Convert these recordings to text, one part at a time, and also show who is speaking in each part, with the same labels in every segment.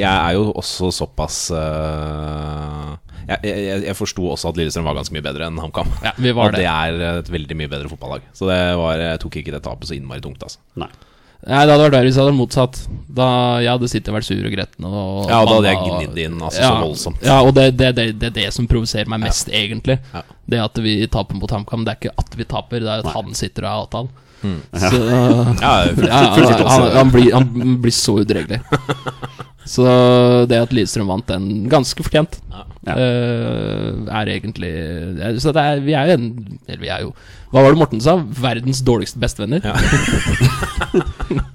Speaker 1: jeg er jo også såpass øh, Jeg, jeg, jeg forsto også at Lillestrøm var ganske mye bedre enn HamKam.
Speaker 2: Ja, vi var
Speaker 1: og det er et veldig mye bedre fotballag. Så det var, jeg tok ikke det tapet så innmari tungt, altså.
Speaker 3: Nei.
Speaker 2: Nei, Det hadde vært verre hvis jeg hadde vært motsatt. Da jeg hadde sittet og vært sur og gretten. Og
Speaker 1: Ja, da hadde jeg
Speaker 2: manna-
Speaker 1: gnidd inn, altså, så voldsomt.
Speaker 2: Ja, og det er det, det, det, er det som provoserer meg mest, egentlig.
Speaker 1: Ja.
Speaker 2: Det at vi taper mot HamKam, det er ikke at vi taper, det er at han sitter og har avtalen. Så,
Speaker 1: Hmm. Ja,
Speaker 2: ja, han, han, han, blir, han blir så udregelig. Så det at Lillestrøm vant den ganske fortjent,
Speaker 3: Ja.
Speaker 2: eh, er egentlig Så det er, vi er jo en Eller vi er jo Hva var det Morten sa? Verdens dårligste bestevenner.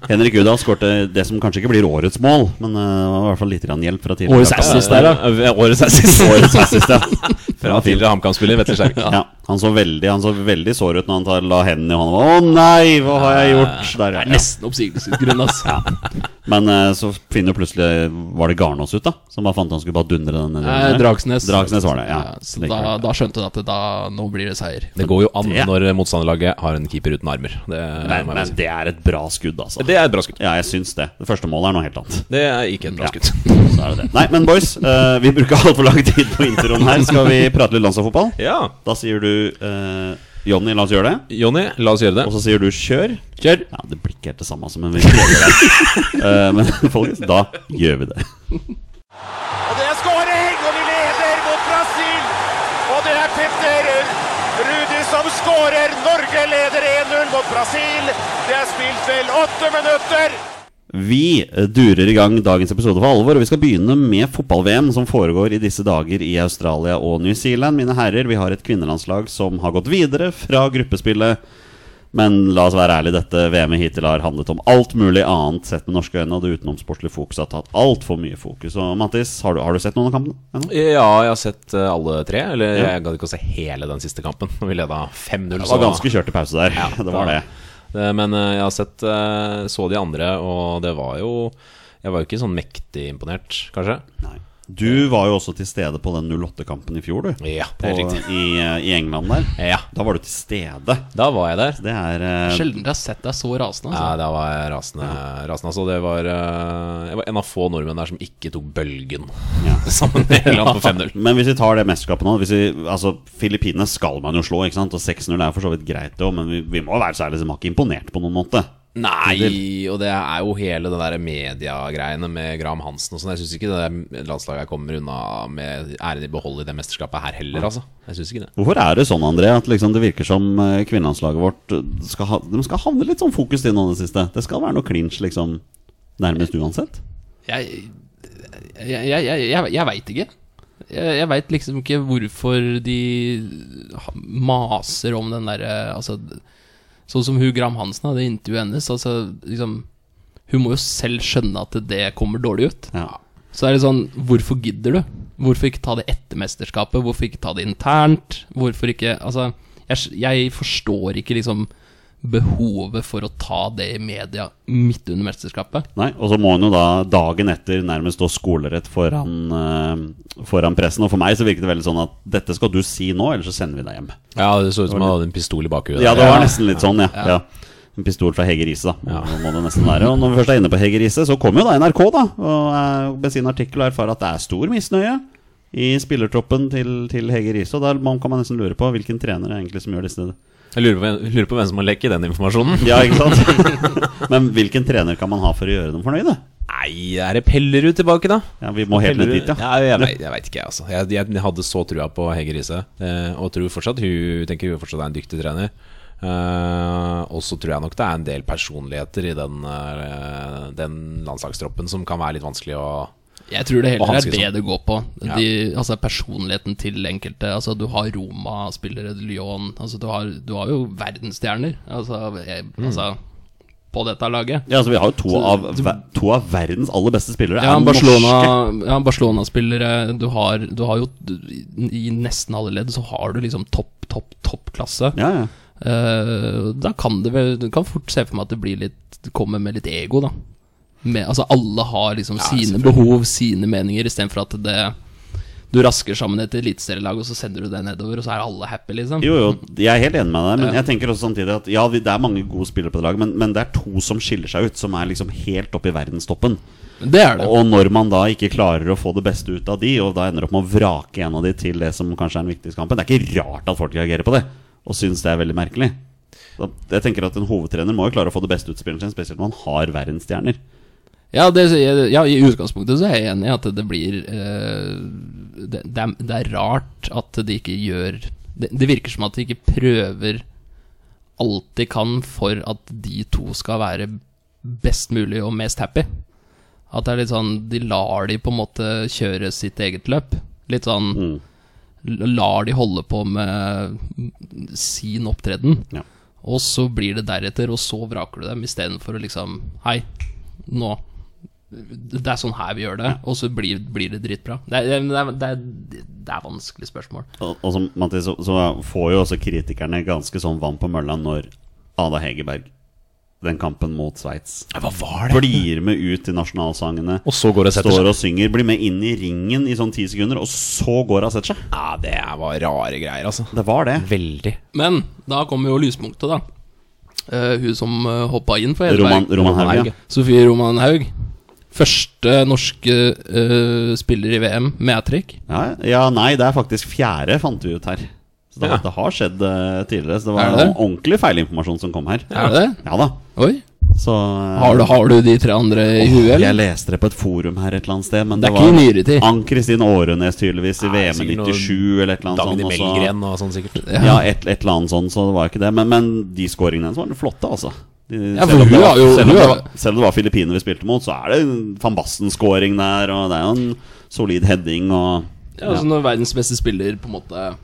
Speaker 3: Henrik Udahl skårte det som kanskje ikke blir årets mål, men eh, det var i hvert fall litt grann hjelp fra tidligere.
Speaker 2: Årets assist der, da.
Speaker 1: Årets assist.
Speaker 3: Årets assist, ja.
Speaker 1: Fra tidligere HamKam-spiller Vetle Skjerk.
Speaker 3: Ja. han, så veldig, han så veldig sår ut når han tar, la hendene i hånda. Å nei, hva har jeg gjort? Der,
Speaker 2: Det
Speaker 3: ja.
Speaker 2: er nesten oppsigelsesgrunn, altså. ass.
Speaker 3: Ja. Men eh, så finner plutselig Var det Garnås ut, da? Som bare fant han skulle bare dundre den ned i
Speaker 2: Eh,
Speaker 3: den der?
Speaker 2: Dragsnes.
Speaker 3: Dragsnes var det, ja.
Speaker 2: så da, da skjønte du at det, da, nå blir det seier.
Speaker 1: Det går jo an
Speaker 3: Det-
Speaker 1: når motstanderlaget har en keeper uten armer. Det,
Speaker 3: men,
Speaker 1: må jeg bare
Speaker 3: men
Speaker 1: si.
Speaker 3: det er et bra skudd, altså.
Speaker 1: det er et bra skudd.
Speaker 3: Ja, jeg syns det. Det første målet er noe helt annet.
Speaker 1: Det er ikke et bra skudd.
Speaker 3: Så er det det. Nei, men boys, eh, vi bruker altfor lang tid på introen her. Skal vi prate litt landslagsfotball?
Speaker 1: Ja,
Speaker 3: Da sier du eh, Jonny, la oss gjøre det.
Speaker 1: Jonny, la oss gjøre det.
Speaker 3: Og så sier du 'kjør'.
Speaker 2: Kjør!
Speaker 3: Ja, Det blir ikke helt det samme, altså, men vi prøver det. Eh, men folkens, da gjør vi det.
Speaker 4: Og det er skåring, og vi leder mot Brasil. Og det er Petter Rudi som skårer. Norge leder 1-0 mot Brasil. Det er spilt vel åtte minutter.
Speaker 3: Vi eh, durer i gang dagens episode for alvor, og vi skal begynne med fotball-VM, som foregår i disse dager i Australia og New Zealand. Mine herrer, vi har et kvinnelandslag som har gått videre fra gruppespillet. Men la oss være ærlig, dette VM-et hittil har handlet om alt mulig annet sett med norske øyne, og det utenomsportlige fokuset har tatt altfor mye fokus. Og Mattis, har du, har du sett noen av kampene? ennå?
Speaker 1: Ja, jeg har sett eh, alle tre. Eller
Speaker 3: Ja.
Speaker 1: jeg gadd ikke å se hele den siste kampen. Når vi leda 5-0.
Speaker 3: Det
Speaker 1: så-
Speaker 3: var ganske kjørt i pause der. det var det.
Speaker 1: Eh, Men eh, jeg har sett eh, Så de andre, og det var jo Jeg var jo ikke sånn mektig imponert, kanskje.
Speaker 3: Nei. Du var jo også til stede på den 08-kampen i fjor, du.
Speaker 1: Ja,
Speaker 3: På,
Speaker 1: det er riktig.
Speaker 3: i, eh, I England der.
Speaker 1: Ja,
Speaker 3: Da var du til stede.
Speaker 1: da var jeg der.
Speaker 3: Det er eh,
Speaker 2: Sjelden jeg har sett deg så rasende.
Speaker 1: Ja,
Speaker 2: Altså.
Speaker 1: da var jeg rasende. rasende altså, det var, eh, jeg var en av få nordmenn der som ikke tok bølgen
Speaker 3: Ja.
Speaker 1: sammen med England på 5-0.
Speaker 3: Men hvis vi tar det mesterskapet nå hvis vi, altså, Filippinene skal man jo slå, ikke sant? Og 6-0 er for så vidt greit, det også, men vi, vi må være særlig så ikke imponert på noen måte.
Speaker 1: Nei, og det er jo hele det der mediegreiene med Graham Hansen og sånn. Jeg syns ikke det der landslaget kommer unna med æren i behold i det mesterskapet her heller, altså. Jeg synes ikke det.
Speaker 3: Hvorfor er det sånn, André, at liksom det virker som eh, kvinnelandslaget vårt eh, skal, ha, de skal havne litt sånn fokus til nå i det siste? Det skal være noe clinch, liksom, nærmest uansett?
Speaker 2: Jeg, jeg, jeg, jeg, jeg, jeg veit ikke. Jeg, jeg veit liksom ikke hvorfor de ha- maser om den derre altså, Sånn som hun Gram Hansen, da, det intervjuet hennes. Altså, liksom, hun må jo selv skjønne at det kommer dårlig ut.
Speaker 3: Ja.
Speaker 2: Så er det sånn, hvorfor gidder du? Hvorfor ikke ta det etter mesterskapet? Hvorfor ikke ta det internt? Hvorfor ikke Altså, jeg, s- jeg forstår ikke liksom behovet for å ta det i media midt under mesterskapet.
Speaker 3: Nei, og så må hun jo da dagen etter nærmest stå skolerett foran, eh, foran pressen. Og for meg så virker det veldig sånn at dette skal du si nå, ellers så sender vi deg hjem.
Speaker 1: Ja, det så ut som han hadde en pistol i bakhuet.
Speaker 3: Ja, det var nesten litt sånn, ja. ja. En pistol fra Hege Riise, da. Må- Må det nesten være. Og når vi først er inne på Hege Riise, så kommer jo da NRK, da. Og eh, med sin artikkel og erfarer at det er stor misnøye i spillertroppen til, til Hege Riise. Og da man- kan man nesten lure på hvilken trener det er egentlig som gjør disse
Speaker 1: Jeg lurer på, lurer på hvem som har lekket den informasjonen.
Speaker 3: Ja, ikke sant? Men hvilken trener kan man ha for å gjøre dem fornøyde?
Speaker 1: Nei, er det Pellerud tilbake, da?
Speaker 3: Ja, Vi må helt ned dit, ja.
Speaker 1: ja jeg, vet, jeg vet ikke, jeg, altså. Jeg, jeg, hadde så trua på Hege Riise. eh, Og tror fortsatt hun tenker hun fortsatt er en dyktig trener. Eh, og så tror jeg nok det er en del personligheter i den, eh, den landslagstroppen som kan være litt vanskelig å
Speaker 2: Jeg tror det
Speaker 1: Og
Speaker 2: heller
Speaker 1: han
Speaker 2: er
Speaker 1: sier
Speaker 2: det
Speaker 1: sånn.
Speaker 2: det går på.
Speaker 1: Ja.
Speaker 2: De, altså personligheten til enkelte. Altså Du har Roma-spillere, Lyon altså du har, du har jo verdensstjerner altså, jeg,
Speaker 1: Mm.
Speaker 2: altså, på dette laget.
Speaker 3: Ja, altså Vi har jo to, av, ver- to av verdens aller beste spillere.
Speaker 2: Ja,
Speaker 3: er norske.
Speaker 2: Barcelona- ja, Barcelona-spillere du, har- du har jo du, I nesten alle ledd så har du liksom topp, topp, toppklasse.
Speaker 3: Ja, ja.
Speaker 2: Eh, da kan det vel Du kan fort se for meg at det blir litt Det kommer med litt ego, da. Med, altså alle har liksom sine behov, sine meninger, istedenfor at det du rasker sammen et eliteserielag, og så sender du det nedover, og så er alle happy, liksom.
Speaker 3: Jo, jo, jeg er helt enig med deg, men jeg tenker også samtidig at ja, vi- det er mange gode spillere på det laget, men, men det er to som skiller seg ut, som er liksom helt oppe i verdenstoppen.
Speaker 2: Det er det.
Speaker 3: Og når man da ikke klarer å få det beste ut av de, og da ender opp med å vrake en av de til det som kanskje er den viktigste kampen, det er ikke rart at folk reagerer på det, og syns det er veldig merkelig. Så jeg tenker at En hovedtrener må jo klare å få det beste ut av spilleren sin, spesielt når han har verdensstjerner.
Speaker 2: Ja, det, ja, i utgangspunktet så er jeg enig i at det blir eh, det, det, er, det er rart at de ikke gjør det, det virker som at de ikke prøver alt de kan for at de to skal være best mulig og mest happy. At det er litt sånn De lar de på en måte kjøre sitt eget løp. Litt sånn l- Lar de holde på med sin opptreden.
Speaker 3: Ja.
Speaker 2: Og så blir det deretter, og så vraker du dem istedenfor å liksom Hei, nå Det er sånn her vi gjør det, og så blir, blir det dritbra. Det er, det er, det er det er vanskelig spørsmål.
Speaker 3: Og, og som Mathis, så, så får jo også kritikerne ganske sånn vann på mølla når Ada Hegerberg, den kampen mot Sveits,
Speaker 1: Hva var
Speaker 3: blir med ut til nasjonalsangene.
Speaker 1: Og så går det og setter
Speaker 3: Står
Speaker 1: seg.
Speaker 3: og synger, blir med inn i ringen i sånn ti sekunder, og så går hun og setter seg.
Speaker 1: Ja, det var rare greier, altså.
Speaker 3: Det var det.
Speaker 1: Veldig.
Speaker 2: Men da kommer jo lyspunktet, da. Eh, hun som uh, hoppa inn for
Speaker 3: Roman,
Speaker 2: Hedberg.
Speaker 3: Roman Haug, ja.
Speaker 2: Sofie Roman Haug. Første norske eh, spiller i VM med hat trick.
Speaker 3: Ja, ja, nei, det er faktisk fjerde, fant vi ut her. Så det,
Speaker 1: Ja.
Speaker 3: det har skjedd eh, tidligere. Så det
Speaker 2: Er
Speaker 3: var
Speaker 2: det det?
Speaker 3: ordentlig feilinformasjon som kom her.
Speaker 2: Er det det?
Speaker 3: Ja da.
Speaker 2: Oi.
Speaker 3: Så eh,
Speaker 2: Har du, har du de tre andre i huet,
Speaker 3: Jeg
Speaker 2: eller?
Speaker 3: leste det på et forum her et eller annet sted, men det,
Speaker 2: Det er ikke i
Speaker 3: var
Speaker 2: nyere tid.
Speaker 3: Ann-Kristin Årenes tydeligvis i
Speaker 1: Nei,
Speaker 3: VM i
Speaker 1: sikkert noe
Speaker 3: 97 eller et eller
Speaker 1: Dagny
Speaker 3: annet sånt. og så-
Speaker 1: Melgren og sånn, sikkert.
Speaker 3: Altså, Ja, et, et eller annet sånt, så det var ikke det. Men, men de scoringene hennes var flotte, altså. De,
Speaker 2: Ja, for
Speaker 3: selv, om
Speaker 2: hun
Speaker 3: det
Speaker 2: har
Speaker 3: var,
Speaker 2: jo-
Speaker 3: selv, om
Speaker 2: hun
Speaker 3: det
Speaker 2: har-
Speaker 3: var, selv om det var Filippinene vi spilte mot, så er det en van Basten-scoring der, og det er jo en solid heading og
Speaker 2: Ja, altså når verdens beste spiller på en måte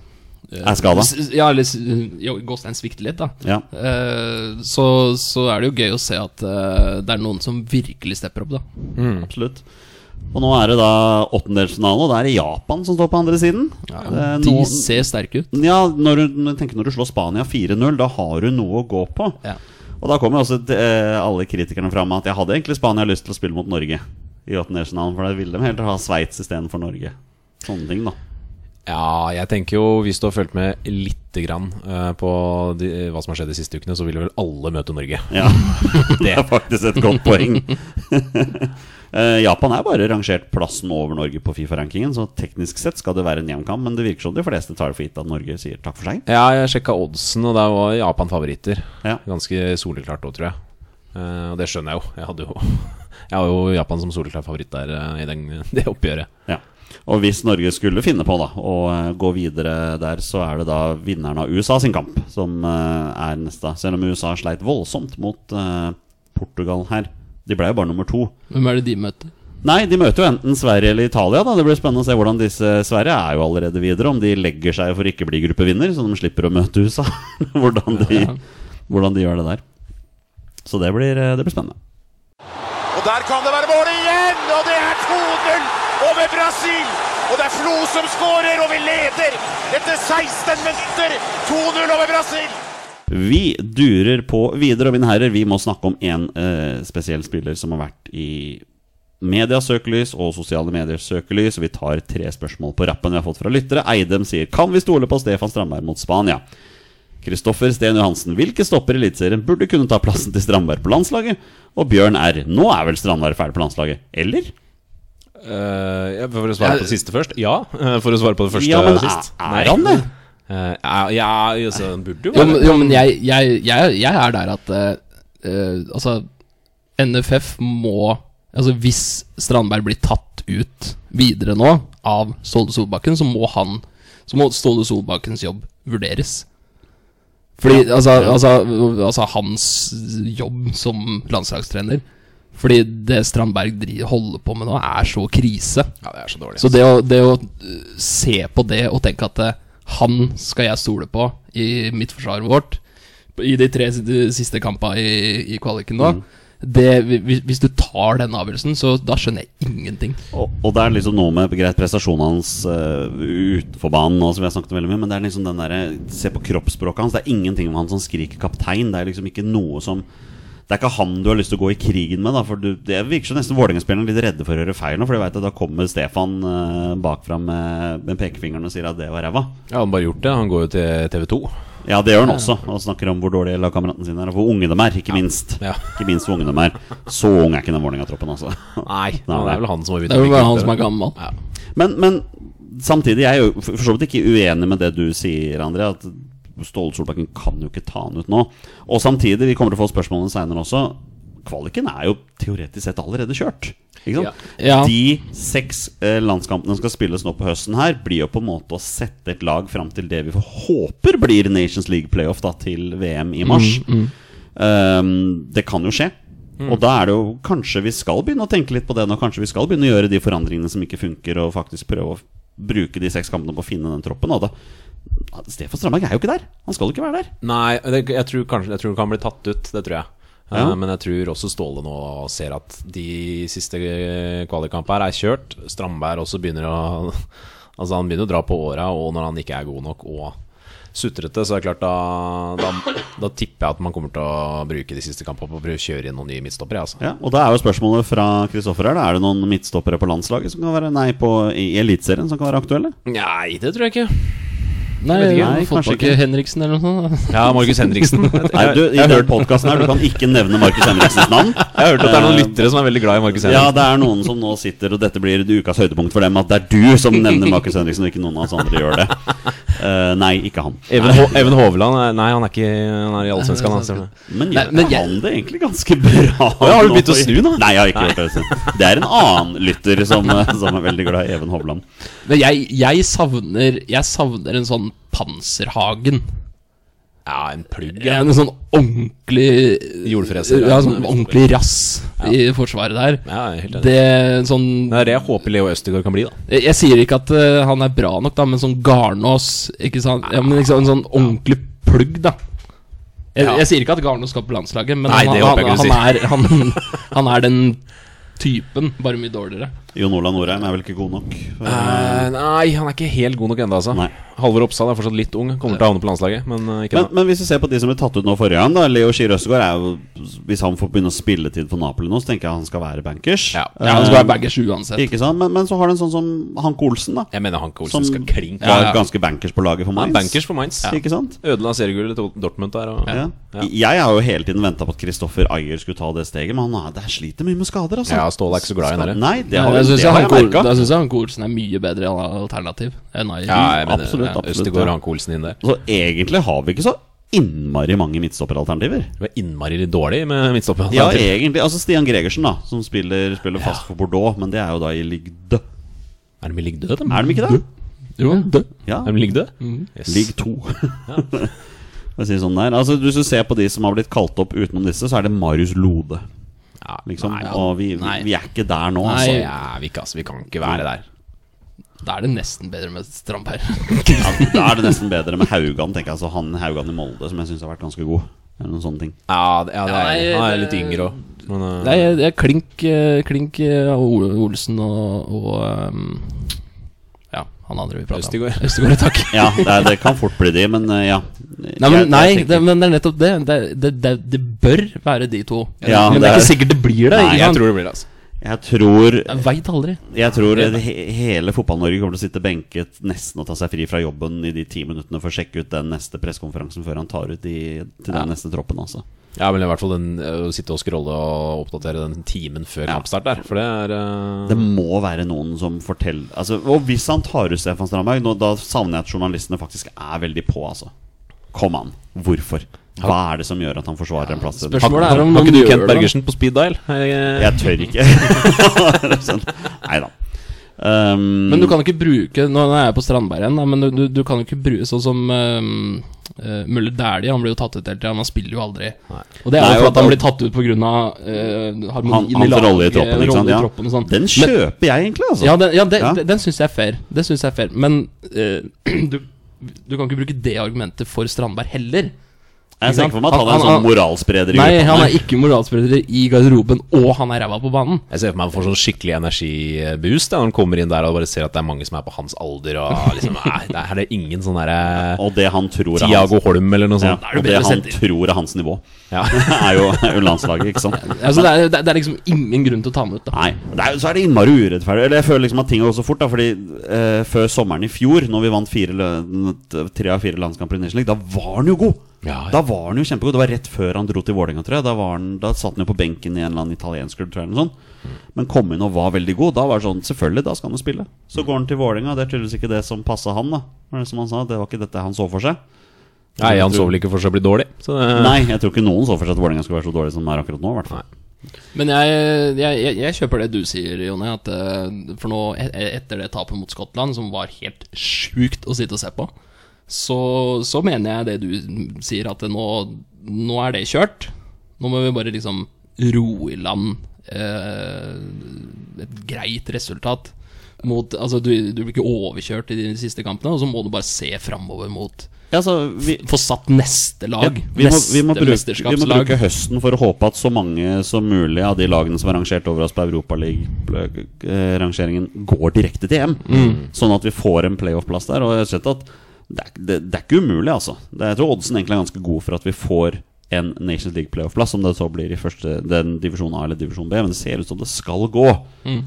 Speaker 2: eh,
Speaker 3: Er skada.
Speaker 2: s- Ja, eller s- jo, Gåstein svikter litt, da.
Speaker 3: Ja.
Speaker 2: Eh, så, så er det jo gøy å se at eh, det er noen som virkelig stepper opp, da.
Speaker 3: Absolutt. Og nå er det da åttendelsfinale, og det er det Japan som står på andre siden. Eh, Ja,
Speaker 2: De ser sterke ut.
Speaker 3: ja, når du, når, jeg tenker når du slår Spania 4-0, da har du noe å gå på.
Speaker 2: Ja.
Speaker 3: Og da kommer jo også eh, alle kritikerne fram med at jeg hadde egentlig Spania lyst til å spille mot Norge i åttendelsfinalen, for da ville de heller ha Sveits istedenfor Norge. Sånne ting, da.
Speaker 1: Ja, jeg tenker jo hvis du har fulgt med lite grann eh, på de, hva som har skjedd de siste ukene, så ville vel alle møte Norge.
Speaker 3: Ja, Det er faktisk et godt poeng. Eh, Japan er bare rangert plassen over Norge på Fifa-rankingen, så teknisk sett skal det være en jevn kamp, men det virker som de fleste tar for gitt at Norge sier takk for seg.
Speaker 1: Ja, jeg sjekka oddsen, og der var Japan favoritter.
Speaker 3: Ja.
Speaker 1: Ganske soleklart òg, tror jeg. Eh, og det skjønner jeg jo. Jeg hadde jo Jeg har jo Japan som soleklar favoritt der eh, i den, det oppgjøret.
Speaker 3: Ja. Og hvis Norge skulle finne på da å eh, gå videre der, så er det da vinneren av USA sin kamp som eh, er neste. Selv om USA sleit voldsomt mot eh, Portugal her. De ble jo bare nummer to.
Speaker 2: Hvem er det de møter?
Speaker 3: Nei, de møter jo enten Sverige eller Italia. da Det blir spennende å se hvordan disse Sverige er jo allerede videre. Om de legger seg for ikke å bli gruppevinner, så de slipper å møte USA. hvordan, de, hvordan de gjør det der. Så det blir, eh, det blir spennende.
Speaker 4: Og der kan det være mål igjen! Og det er 2-0 over Brasil! Og det er Flo som skårer, og vi leder etter 16 minutter! 2-0 over Brasil!
Speaker 3: Vi durer på videre, og mine herrer, vi må snakke om en eh, spesiell spiller som har vært i medias søkelys og sosiale mediers søkelys. Vi tar tre spørsmål på rappen vi har fått fra lyttere. Eidem sier Kan vi stole på Stefan Strandberg mot Spania? Kristoffer Sten Johansen, hvilke stopper i Eliteserien burde kunne ta plassen til Strandberg på landslaget? Og Bjørn R, nå er vel Strandberg ferdig på landslaget? Eller?
Speaker 1: Eh, ja, for å svare på det siste først? Ja. eh, for å svare på det første
Speaker 3: ja, men
Speaker 1: sist.
Speaker 3: er, er han det?
Speaker 1: Eh, ja, ja, altså, han burde jo
Speaker 2: Jo,
Speaker 1: være
Speaker 2: men, jo, men jeg, jeg, jeg, jeg er der at eh, eh, Altså, NFF må Altså, hvis Strandberg blir tatt ut videre nå av Ståle Solbakken, så må han Så må Ståle Solbakkens jobb vurderes. Fordi altså, altså, altså hans jobb som landslagstrener Fordi det Strandberg dri- holder på med nå, er så krise.
Speaker 1: Ja, det er så dårlig.
Speaker 2: Så det å, det å øh, se på det og tenke at eh, han skal jeg stole på i midtforsvaret vårt i de tre si- de siste kampene i, i kvaliken nå det, hvis, hvis du tar den avgjørelsen, så da skjønner jeg ingenting.
Speaker 3: Og, og det er liksom noe med greit prestasjonen hans eh, utenfor banen, nå, som vi har snakket veldig mye men det er liksom den derre Se på kroppsspråket hans. Det er ingenting om han som skriker kaptein. Det er liksom ikke noe som Det er ikke han du har lyst til å gå i krigen med, da. For du, det virker som nesten Vålerenga-spillerne er litt redde for å gjøre feil nå, for de vet at da kommer Stefan eh, bakfra med, med pekefingeren og sier at det var ræva.
Speaker 1: Ja, han bare gjort det. Han går jo til TV 2.
Speaker 3: Ja, det gjør han også. Og snakker om hvor dårlige lagkameratene sine er, og hvor unge de er, ikke minst.
Speaker 1: Ja.
Speaker 3: Ikke minst hvor unge de er. Så ung er ikke den Vålerenga-troppen, altså.
Speaker 1: Nei, det er vel han som har begynt
Speaker 2: Det er
Speaker 1: å
Speaker 2: jo
Speaker 1: bli
Speaker 2: bare han
Speaker 1: kvitt
Speaker 2: som er
Speaker 1: det.
Speaker 2: gammel.
Speaker 1: Ja.
Speaker 3: Men, men samtidig, jeg er jo for for så vidt ikke uenig med det du sier, André. At Ståle Solbakken kan jo ikke ta han ut nå. Og samtidig, vi kommer til å få spørsmålene seinere også. Kvaliken er jo teoretisk sett allerede kjørt. Ikke sant?
Speaker 2: Ja. Ja.
Speaker 3: De seks eh, landskampene som skal spilles nå på høsten her, blir jo på en måte å sette et lag fram til det vi håper blir Nations League playoff da til VM i mars. Ehm, det kan jo skje. Og da er det jo kanskje vi skal begynne å tenke litt på det nå. Kanskje vi skal begynne å gjøre de forandringene som ikke funker, og faktisk prøve å bruke de seks kampene på å finne den troppen. Og da Stefan Strandberg er jo ikke der! Han skal jo ikke være der.
Speaker 1: Nei, det, jeg, tror kanskje, jeg tror han kan bli tatt ut, det tror jeg. Eh,
Speaker 3: Ja.
Speaker 1: Men jeg tror også Ståle nå ser at de siste eh, kvalikkampene her er kjørt. Strandberg også begynner å Altså Han begynner å dra på åra, og når han ikke er god nok og sutrete, så er det klart da, da, da tipper jeg at man kommer til å bruke de siste kampene på å prøve å kjøre inn noen nye midtstoppere. Altså.
Speaker 3: Ja, og da er jo spørsmålet fra Kristoffer her da. Er det noen midtstoppere på landslaget som kan være Nei, på, i Eliteserien som kan være aktuelle?
Speaker 1: Nei, det tror jeg ikke.
Speaker 2: Nei,
Speaker 1: vet ikke.
Speaker 2: nei
Speaker 3: Nei, kanskje
Speaker 2: fått tak i
Speaker 3: ikke.
Speaker 2: Henriksen eller noe sånt. da.
Speaker 1: Ja, Markus Henriksen. Jeg,
Speaker 3: Nei, du, I den podkasten her, du kan ikke nevne Markus Henriksens navn.
Speaker 1: har hørt at det er noen lyttere som er veldig glad i Markus
Speaker 3: Ja,
Speaker 1: Henriksen.
Speaker 3: det er noen som nå sitter, og dette blir ukas høydepunkt for dem, at det er du som nevner Markus Henriksen, og ikke noen av oss andre gjør det. Eh, nei, ikke han.
Speaker 1: Even, Ho Even Hovland er- Nei, han er ikke Han er i Allsvenskan. Han, stemmer det.
Speaker 3: Men
Speaker 2: Nei,
Speaker 3: gjør
Speaker 2: men
Speaker 3: ikke
Speaker 2: jeg-
Speaker 3: han det egentlig ganske bra?
Speaker 1: ja, har du
Speaker 3: nå
Speaker 1: begynt å
Speaker 3: for-
Speaker 1: snu, da?
Speaker 3: Nei, jeg har ikke gjort det. Det er en annen lytter som, eh, som er veldig glad i Even Hovland.
Speaker 2: Men jeg, jeg, savner, jeg savner en sånn Panserhagen.
Speaker 1: ja, en plugg.
Speaker 2: Ja, en sånn ordentlig
Speaker 1: Jordfreser, ja.
Speaker 2: Ja, sånn ordentlig rass i forsvaret der.
Speaker 1: Ja, jeg er helt enig.
Speaker 2: Det er sånn
Speaker 1: Det er det jeg håper Leo Østegård kan bli, da.
Speaker 2: Jeg jeg sier ikke at eh, han er bra nok, da, men sånn Garnås ikke sant? Ja, men liksom En sånn ordentlig plugg, da. Jeg,
Speaker 1: Ja.
Speaker 2: jeg sier ikke at Garnås skal på landslaget, men
Speaker 1: Nei, det
Speaker 2: han,
Speaker 1: håper jeg
Speaker 2: han,
Speaker 1: ikke
Speaker 2: han, er, han, han er den typen, bare mye dårligere.
Speaker 3: Jon Olav Norheim er vel ikke god nok? eh. for-
Speaker 1: Ah, Eh, nei, han er ikke helt god nok ennå, altså.
Speaker 3: Nei.
Speaker 1: Halvor Oppsal er fortsatt litt ung. Kommer til å havne på landslaget, men eh, ikke
Speaker 3: Men,
Speaker 1: ennå.
Speaker 3: men hvis vi ser på de som ble tatt ut nå forrige gang, da. Leo Skier Østegård er jo Hvis han får begynne å spille tid for Napoli nå, så tenker jeg han skal være bankers.
Speaker 1: Ja.
Speaker 2: Ja, Han skal være
Speaker 3: Eh,
Speaker 2: baggers uansett.
Speaker 3: Ikke sant? Men, men så har du en sånn som Hanke Olsen, da.
Speaker 1: Jeg mener Hanke
Speaker 3: Som
Speaker 1: Olsen skal klinke.
Speaker 3: var
Speaker 2: Ja, ja.
Speaker 3: ganske bankers på laget for
Speaker 1: Han er
Speaker 3: Mainz.
Speaker 1: bankers for Mainz.
Speaker 3: Ikke sant?
Speaker 1: Ødela seriegullet til Dortmund der. Og,
Speaker 3: Ja. Jeg har jo hele tiden venta på at Kristoffer Ayer skulle ta det steget, men han er, det sliter mye med skader. Altså.
Speaker 1: Ja, Ståle er ikke så glad i det.
Speaker 3: Nei, det har,
Speaker 2: Jeg
Speaker 3: det
Speaker 2: syns
Speaker 3: har jeg merka.
Speaker 2: han Olsen er mye bedre alternativ enn Ayer.
Speaker 1: Ja, jeg mener,
Speaker 3: Absolutt,
Speaker 1: ja,
Speaker 3: absolutt,
Speaker 1: Østegård
Speaker 3: ja.
Speaker 1: og Hanke Olsen inn der.
Speaker 3: Så egentlig har vi ikke så innmari mange midtstopperalternativer.
Speaker 1: Det var innmari dårlig med midtstopper.
Speaker 3: Ja, egentlig. Altså Stian Gregersen, da, som spiller, spiller fast for Bordeaux, men det er jo da i Ligue 2.
Speaker 1: er de i ligg død, dem?
Speaker 3: Er de ikke det?
Speaker 2: Jo, det.
Speaker 3: Ja.
Speaker 1: Er de i ligg død? Yes.
Speaker 3: Ligg to. For å si det sånn der. Altså, hvis du ser på de som har blitt kalt opp utenom disse, så er det Marius Lode.
Speaker 1: Ja,
Speaker 3: Liksom.
Speaker 1: Nei,
Speaker 3: og vi, vi,
Speaker 2: Nei.
Speaker 3: vi er ikke der nå,
Speaker 1: altså,
Speaker 3: altså.
Speaker 2: Nei.
Speaker 1: ja, vi, kan, altså, vi kan ikke være der.
Speaker 2: Da er det nesten bedre med Strandberg.
Speaker 3: Ja, da er det nesten bedre med Haugan, tenker jeg. Altså, han Haugan i Molde, som jeg syns har vært ganske god. Eller noen sånne ting.
Speaker 1: Ja, det, ja, det er,
Speaker 2: Ja, nei,
Speaker 1: han er
Speaker 2: det-
Speaker 1: litt yngre òg. Men eh,
Speaker 2: Nei, jeg, jeg klink, eh, klink eh, Ole- Olsen og, og ehm, Ja, han andre vi prater om.
Speaker 1: Østegård.
Speaker 2: Østegård, takk.
Speaker 3: Ja, det, er, det kan fort bli de, men eh, ja.
Speaker 2: Nei, men,
Speaker 3: Jeg-
Speaker 2: nei
Speaker 3: jeg tenker-
Speaker 2: det, men det er nettopp det. Det, det, det. det bør være de to.
Speaker 3: Ja,
Speaker 2: men det
Speaker 3: det
Speaker 2: er
Speaker 3: er-
Speaker 2: ikke sikkert det blir det.
Speaker 3: Nei,
Speaker 2: ikke
Speaker 1: jeg
Speaker 2: sant?
Speaker 1: tror det blir det, altså.
Speaker 3: Jeg tror
Speaker 2: Jeg veit aldri.
Speaker 3: Jeg tror he- hele Fotball-Norge kommer til å sitte benket nesten og ta seg fri fra jobben i de ti minuttene for å sjekke ut den neste pressekonferansen før han tar ut de, til den neste troppen, altså.
Speaker 1: Ja, men i hvert fall den, eh, å sitte og scrolle og oppdatere den timen før kampstart der. For det er eh,
Speaker 3: Det
Speaker 2: Mhm.
Speaker 3: må være noen som forteller altså, Og hvis han tar ut Stefan Strandberg, nå, da savner jeg at journalistene faktisk er veldig på, altså. Kom an, hvorfor? Hva er det som gjør at han forsvarer en plass? til den?
Speaker 2: Spørsmålet er om
Speaker 1: Har
Speaker 2: noen
Speaker 1: ikke du
Speaker 2: gjør
Speaker 1: Kent
Speaker 2: det.
Speaker 1: Bergersen på speed dial? Jeg,
Speaker 3: Jeg tør ikke. sånn. Nei da. Um,
Speaker 2: Men du kan ikke bruke Nå nå er jeg på Strandberg igjen, da, men du, du, du kan jo ikke bruke sånn som ehm, eh, Møller Dæhlie. Han blir jo tatt ut hele tida, men han spiller jo aldri. Og det er
Speaker 3: Nei,
Speaker 2: jo
Speaker 3: og-
Speaker 2: for at han blir tatt ut pga. Uh,
Speaker 3: han,
Speaker 2: harmonien
Speaker 3: hans
Speaker 2: laget,
Speaker 3: rolle i troppen, ikke
Speaker 2: rolle
Speaker 3: sant?
Speaker 2: i
Speaker 3: Ja.
Speaker 2: troppen og sånn.
Speaker 3: Den
Speaker 2: Men-
Speaker 3: kjøper jeg egentlig, altså.
Speaker 2: Ja, den, ja, det,
Speaker 3: Ja.
Speaker 2: det- den syns jeg er fair. Det synes jeg er fair. Men eh, du, du kan ikke bruke det argumentet for Strandberg heller.
Speaker 3: jeg ser
Speaker 2: ikke sant?
Speaker 3: ikke for meg at han er en
Speaker 2: Han-
Speaker 3: sånn
Speaker 2: han-
Speaker 3: moralspreder. i
Speaker 2: Nei,
Speaker 3: gruppa,
Speaker 2: han er ikke moralspreder i garderoben, og han er ræva på banen.
Speaker 1: jeg ser for meg han får sånn skikkelig energiboost da, når han kommer inn der og bare ser at det er mange som er på hans alder. Og liksom, nei, det er- her er det ingen sånn derre
Speaker 3: Og det han tror er hans,
Speaker 1: Tiago Holm eller noe
Speaker 3: ja,
Speaker 1: sånt.
Speaker 3: og det han tror er hans nivå,
Speaker 1: Ja.
Speaker 3: er jo er jo landslaget, ikke sant?
Speaker 2: Altså, det, er, det, er- det er liksom ingen grunn til å ta ham ut, da.
Speaker 3: Nei, det er, jo- Så er det innmari urettferdig. Eller jeg føler liksom at ting går så fort. da Fordi eh, Før sommeren i fjor, når vi vant fire, lø- t- tre av fire landskamper i Nation League, da var han jo god!
Speaker 1: Ja, ja.
Speaker 3: Da var han jo kjempegod. Det var rett før han dro til Vålerenga, tror jeg. Da, var han, da satt han jo på benken i en eller annen italiensk klubb, tror jeg. Eller noe sånt. Men kom inn og var veldig god. Da var det sånn Selvfølgelig, da skal han jo spille. Så går han til Vålerenga. Det er tydeligvis ikke det som passa han, da. Det var det som han sa, det var ikke dette han så for seg.
Speaker 1: Nei, han så vel ikke for seg å bli dårlig. Så det,
Speaker 3: Nei, jeg tror ikke noen så for seg at Vålerenga skulle være så dårlig som de er akkurat nå. i hvert fall
Speaker 2: Men jeg, jeg, jeg, jeg kjøper det du sier, Jonny. At eh, for nå, e- etter det tapet mot Skottland, som var helt sjukt å sitte og se på, så, så mener jeg det du sier, at det nå, nå er det kjørt. Nå må vi bare liksom ro i land eh, et greit resultat. mot Altså, du, du blir ikke overkjørt i de siste kampene, og så må du bare se framover mot
Speaker 3: Ja, altså, vi,
Speaker 2: Få satt neste
Speaker 3: ja,
Speaker 2: lag.
Speaker 3: vi, må,
Speaker 2: neste
Speaker 3: vi, må bruke, vi må
Speaker 2: mesterskapslag.
Speaker 3: bruke høsten for å håpe at så mange som mulig av de lagene som er rangert over oss på Europaliga-rangeringen, går direkte til EM. Sånn at vi får en playoff-plass der. Og jeg har sett at det er, det, det er ikke umulig, altså. Det, jeg tror oddsen egentlig er ganske god for at vi får en Nations League playoff-plass, om det så blir i første, den divisjon A eller divisjon B. Men det ser ut som det skal gå.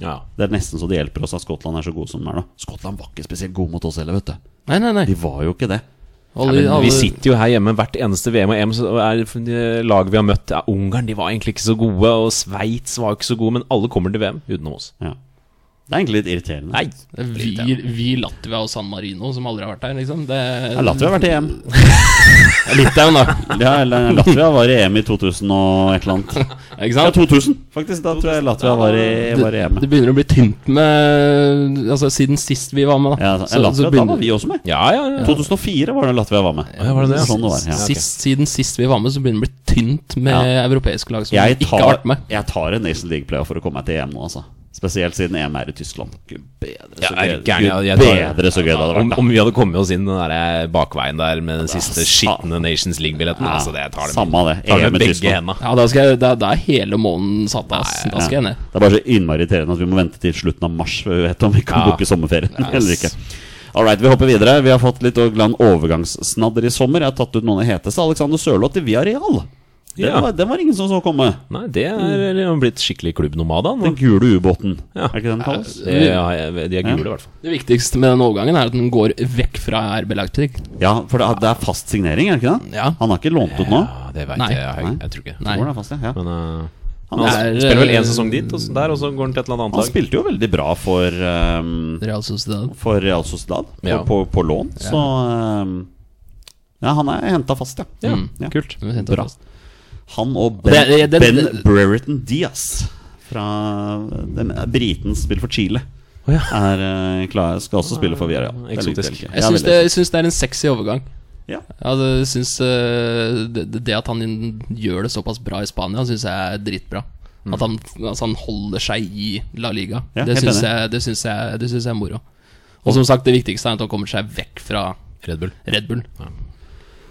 Speaker 1: Ja.
Speaker 3: Det er nesten så det hjelper oss at Skottland er så gode som de er nå. Skottland var ikke spesielt gode mot oss heller, vet du.
Speaker 2: Nei, nei, nei.
Speaker 3: De var jo ikke det.
Speaker 2: Alle-
Speaker 1: Men
Speaker 2: alle-
Speaker 1: vi sitter jo her hjemme hvert eneste VM og EM. Så er de lag vi har møtt ja, Ungarn de var egentlig ikke så gode, og Sveits var ikke så gode, men alle kommer til VM utenom oss.
Speaker 3: Ja. Det er egentlig litt irriterende.
Speaker 1: Nei,
Speaker 2: vi, vi Latvia og San Marino, som aldri har vært der, liksom. Det,
Speaker 3: Ja, Latvia har vært i EM.
Speaker 2: Litauen, da.
Speaker 3: Ja, eller Latvia var i EM i 2000 og et eller annet.
Speaker 2: Ikke
Speaker 3: Ja,
Speaker 2: sant?
Speaker 3: 2000, faktisk. Da tror jeg Latvia var i, var i EM.
Speaker 2: Det begynner å bli tynt med Altså, siden sist vi var med, da.
Speaker 3: Ja, altså,
Speaker 2: Så-
Speaker 3: Latvia,
Speaker 2: så
Speaker 3: da
Speaker 2: begynner-
Speaker 3: var vi også med.
Speaker 1: Ja, ja, ja.
Speaker 3: 2004 var det Latvia var med.
Speaker 1: ja, var det det, ja?
Speaker 3: Sånn det var, ja.
Speaker 2: sist, Siden sist vi var med, så begynner det å bli tynt med
Speaker 3: Ja.
Speaker 2: europeiske lag som
Speaker 3: Jeg
Speaker 2: ikke har
Speaker 3: tar,
Speaker 2: vært med.
Speaker 3: jeg tar en Nation League playoff for å komme meg til EM nå, altså. Spesielt siden EM er i Tyskland. Gud bedre så
Speaker 1: Ja, er
Speaker 3: gøy,
Speaker 1: du gæren? Jeg- jeg
Speaker 3: Gud
Speaker 1: tar-
Speaker 3: bedre så gøy det hadde
Speaker 1: Om,
Speaker 3: vært. da.
Speaker 1: om vi hadde kommet oss inn den der eh, bakveien der med den siste
Speaker 3: sa-
Speaker 1: skitne Nations League-billetten
Speaker 3: Ja,
Speaker 1: Altså, det tar det
Speaker 3: samme det.
Speaker 1: Tar
Speaker 3: EM
Speaker 1: det
Speaker 3: i
Speaker 1: med begge
Speaker 3: Tyskland.
Speaker 1: henda.
Speaker 2: Ja, da, skal jeg, da, da er hele måneden satt av. ass. Da skal jeg ned.
Speaker 3: Det er bare så innmari irriterende at vi må vente til slutten av mars før vi vet om vi kan
Speaker 1: Ja.
Speaker 3: booke sommerferien eller ikke. All right, vi hopper videre. Vi har fått litt glan overgangssnadder i sommer. Jeg har tatt ut noen av de heteste. Alexander Sørloth i Villarreal. Den,
Speaker 1: Ja.
Speaker 3: var, den var ingen som så komme.
Speaker 1: Nei, det er han blitt skikkelig klubbnomad, han.
Speaker 3: Den
Speaker 1: nå.
Speaker 3: gule ubåten.
Speaker 1: Ja.
Speaker 3: Er ikke den kalles?
Speaker 1: Det- Ja, jeg- de er gule, i hvert fall.
Speaker 2: Det viktigste med den overgangen er at den går vekk fra RB Leipzig.
Speaker 3: Ja, for det er, det er fast signering, er det ikke det?
Speaker 2: Ja.
Speaker 3: Han har ikke lånt ut nå?
Speaker 1: Ja, det veit
Speaker 2: Nei.
Speaker 1: jeg. Jeg, jeg tror ikke.
Speaker 2: Nei.
Speaker 3: Hvor er det fast, ja. Ja.
Speaker 1: Men eh,
Speaker 3: Han,
Speaker 2: Nei.
Speaker 3: han,
Speaker 2: er,
Speaker 1: spiller vel
Speaker 2: eh,
Speaker 1: én sesong dit, og så der, og så går han til et eller annet annet lag.
Speaker 3: spilte jo veldig bra for ehm,
Speaker 2: Real Sociedad.
Speaker 3: For Real Sociedad på,
Speaker 1: Ja.
Speaker 3: på, på lån. Så ehm, Ja, han er henta fast, ja.
Speaker 1: Ja,
Speaker 3: Mm, ja.
Speaker 1: kult.
Speaker 2: Det er helt
Speaker 3: Bra.
Speaker 2: fantastisk.
Speaker 3: Han og Ben,
Speaker 2: Det er- det- det-
Speaker 3: ben Brereton Diaz fra den, eh, Briten som spiller for Chile.
Speaker 1: Å ja.
Speaker 3: Er, eh, klar, skal også spille for Villarreal. Det er litt
Speaker 1: Eksotisk.
Speaker 3: veldig gøy.
Speaker 2: Jeg
Speaker 3: Ja,
Speaker 2: syns
Speaker 3: veldig
Speaker 2: det, jeg syns det er en sexy overgang.
Speaker 3: Ja.
Speaker 2: Ja, det syns eh, det, det at han gjør det såpass bra i Spania, syns jeg er dritbra. At han, altså han holder seg i La Liga.
Speaker 3: Ja,
Speaker 2: det
Speaker 3: helt enig.
Speaker 2: syns jeg, det syns jeg, det syns jeg er moro. Og som sagt, det viktigste er at han kommer seg vekk fra
Speaker 1: Red Bull.
Speaker 2: Red Bull.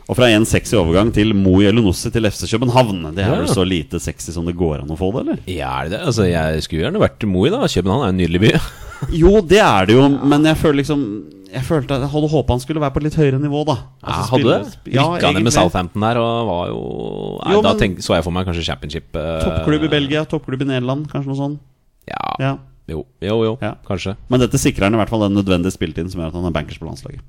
Speaker 3: Og fra en sexy overgang til Mo Jelunossi til FC København. Det er
Speaker 1: Ja.
Speaker 3: vel så lite sexy som det går an å få det, eller?
Speaker 1: Ja, er det det? Altså, jeg skulle gjerne vært Moi, da. København er en nydelig by.
Speaker 3: Jo, det er det jo, men jeg føler liksom Jeg følte at jeg hadde håpet han skulle være på et litt høyere nivå, da.
Speaker 1: Ja,
Speaker 3: Altså,
Speaker 1: hadde det?
Speaker 3: spille- sp- ja,
Speaker 1: Rykka ned
Speaker 3: egentlig.
Speaker 1: med Southampton der og var jo Nei,
Speaker 3: Jo,
Speaker 1: Da
Speaker 3: men-
Speaker 1: tenk, så jeg for meg kanskje championship eh,
Speaker 3: Toppklubb i Belgia, toppklubb i Nederland, kanskje noe sånt.
Speaker 1: Ja.
Speaker 3: Ja.
Speaker 1: Jo, jo, jo.
Speaker 3: Ja.
Speaker 1: kanskje.
Speaker 3: Men dette sikrer han i hvert fall den nødvendige spilletiden som gjør at han er bankers på landslaget.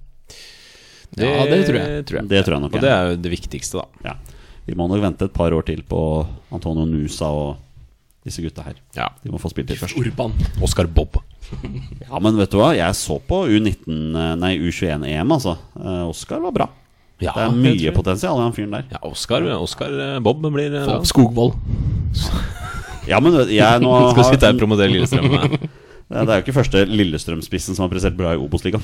Speaker 2: Ja, det tror jeg.
Speaker 3: Det tror jeg nok
Speaker 1: Og
Speaker 3: er.
Speaker 1: det er jo det viktigste, da.
Speaker 3: Ja. Vi må nok vente et par år til på Antonio Nusa og disse gutta her.
Speaker 1: Ja.
Speaker 3: De må få spilletid først.
Speaker 2: Urban.
Speaker 1: Oscar Bob.
Speaker 3: Ja, men vet du hva? Jeg så på U19, eh, nei U21-EM, altså. Eh, Oscar var bra.
Speaker 1: Ja,
Speaker 3: Det er
Speaker 1: det
Speaker 3: mye
Speaker 1: tror jeg.
Speaker 3: potensial i han fyren der.
Speaker 1: Ja, Oscar, Oscar eh, Bob blir eh,
Speaker 2: Få opp Skogvold.
Speaker 3: Ja, men vet- jeg nå
Speaker 1: Skal sitte her
Speaker 3: har
Speaker 1: og promotere Lillestrøm. Nei.
Speaker 3: Det er jo ikke første Lillestrøm-spissen som har prestert bra i Obos-ligaen.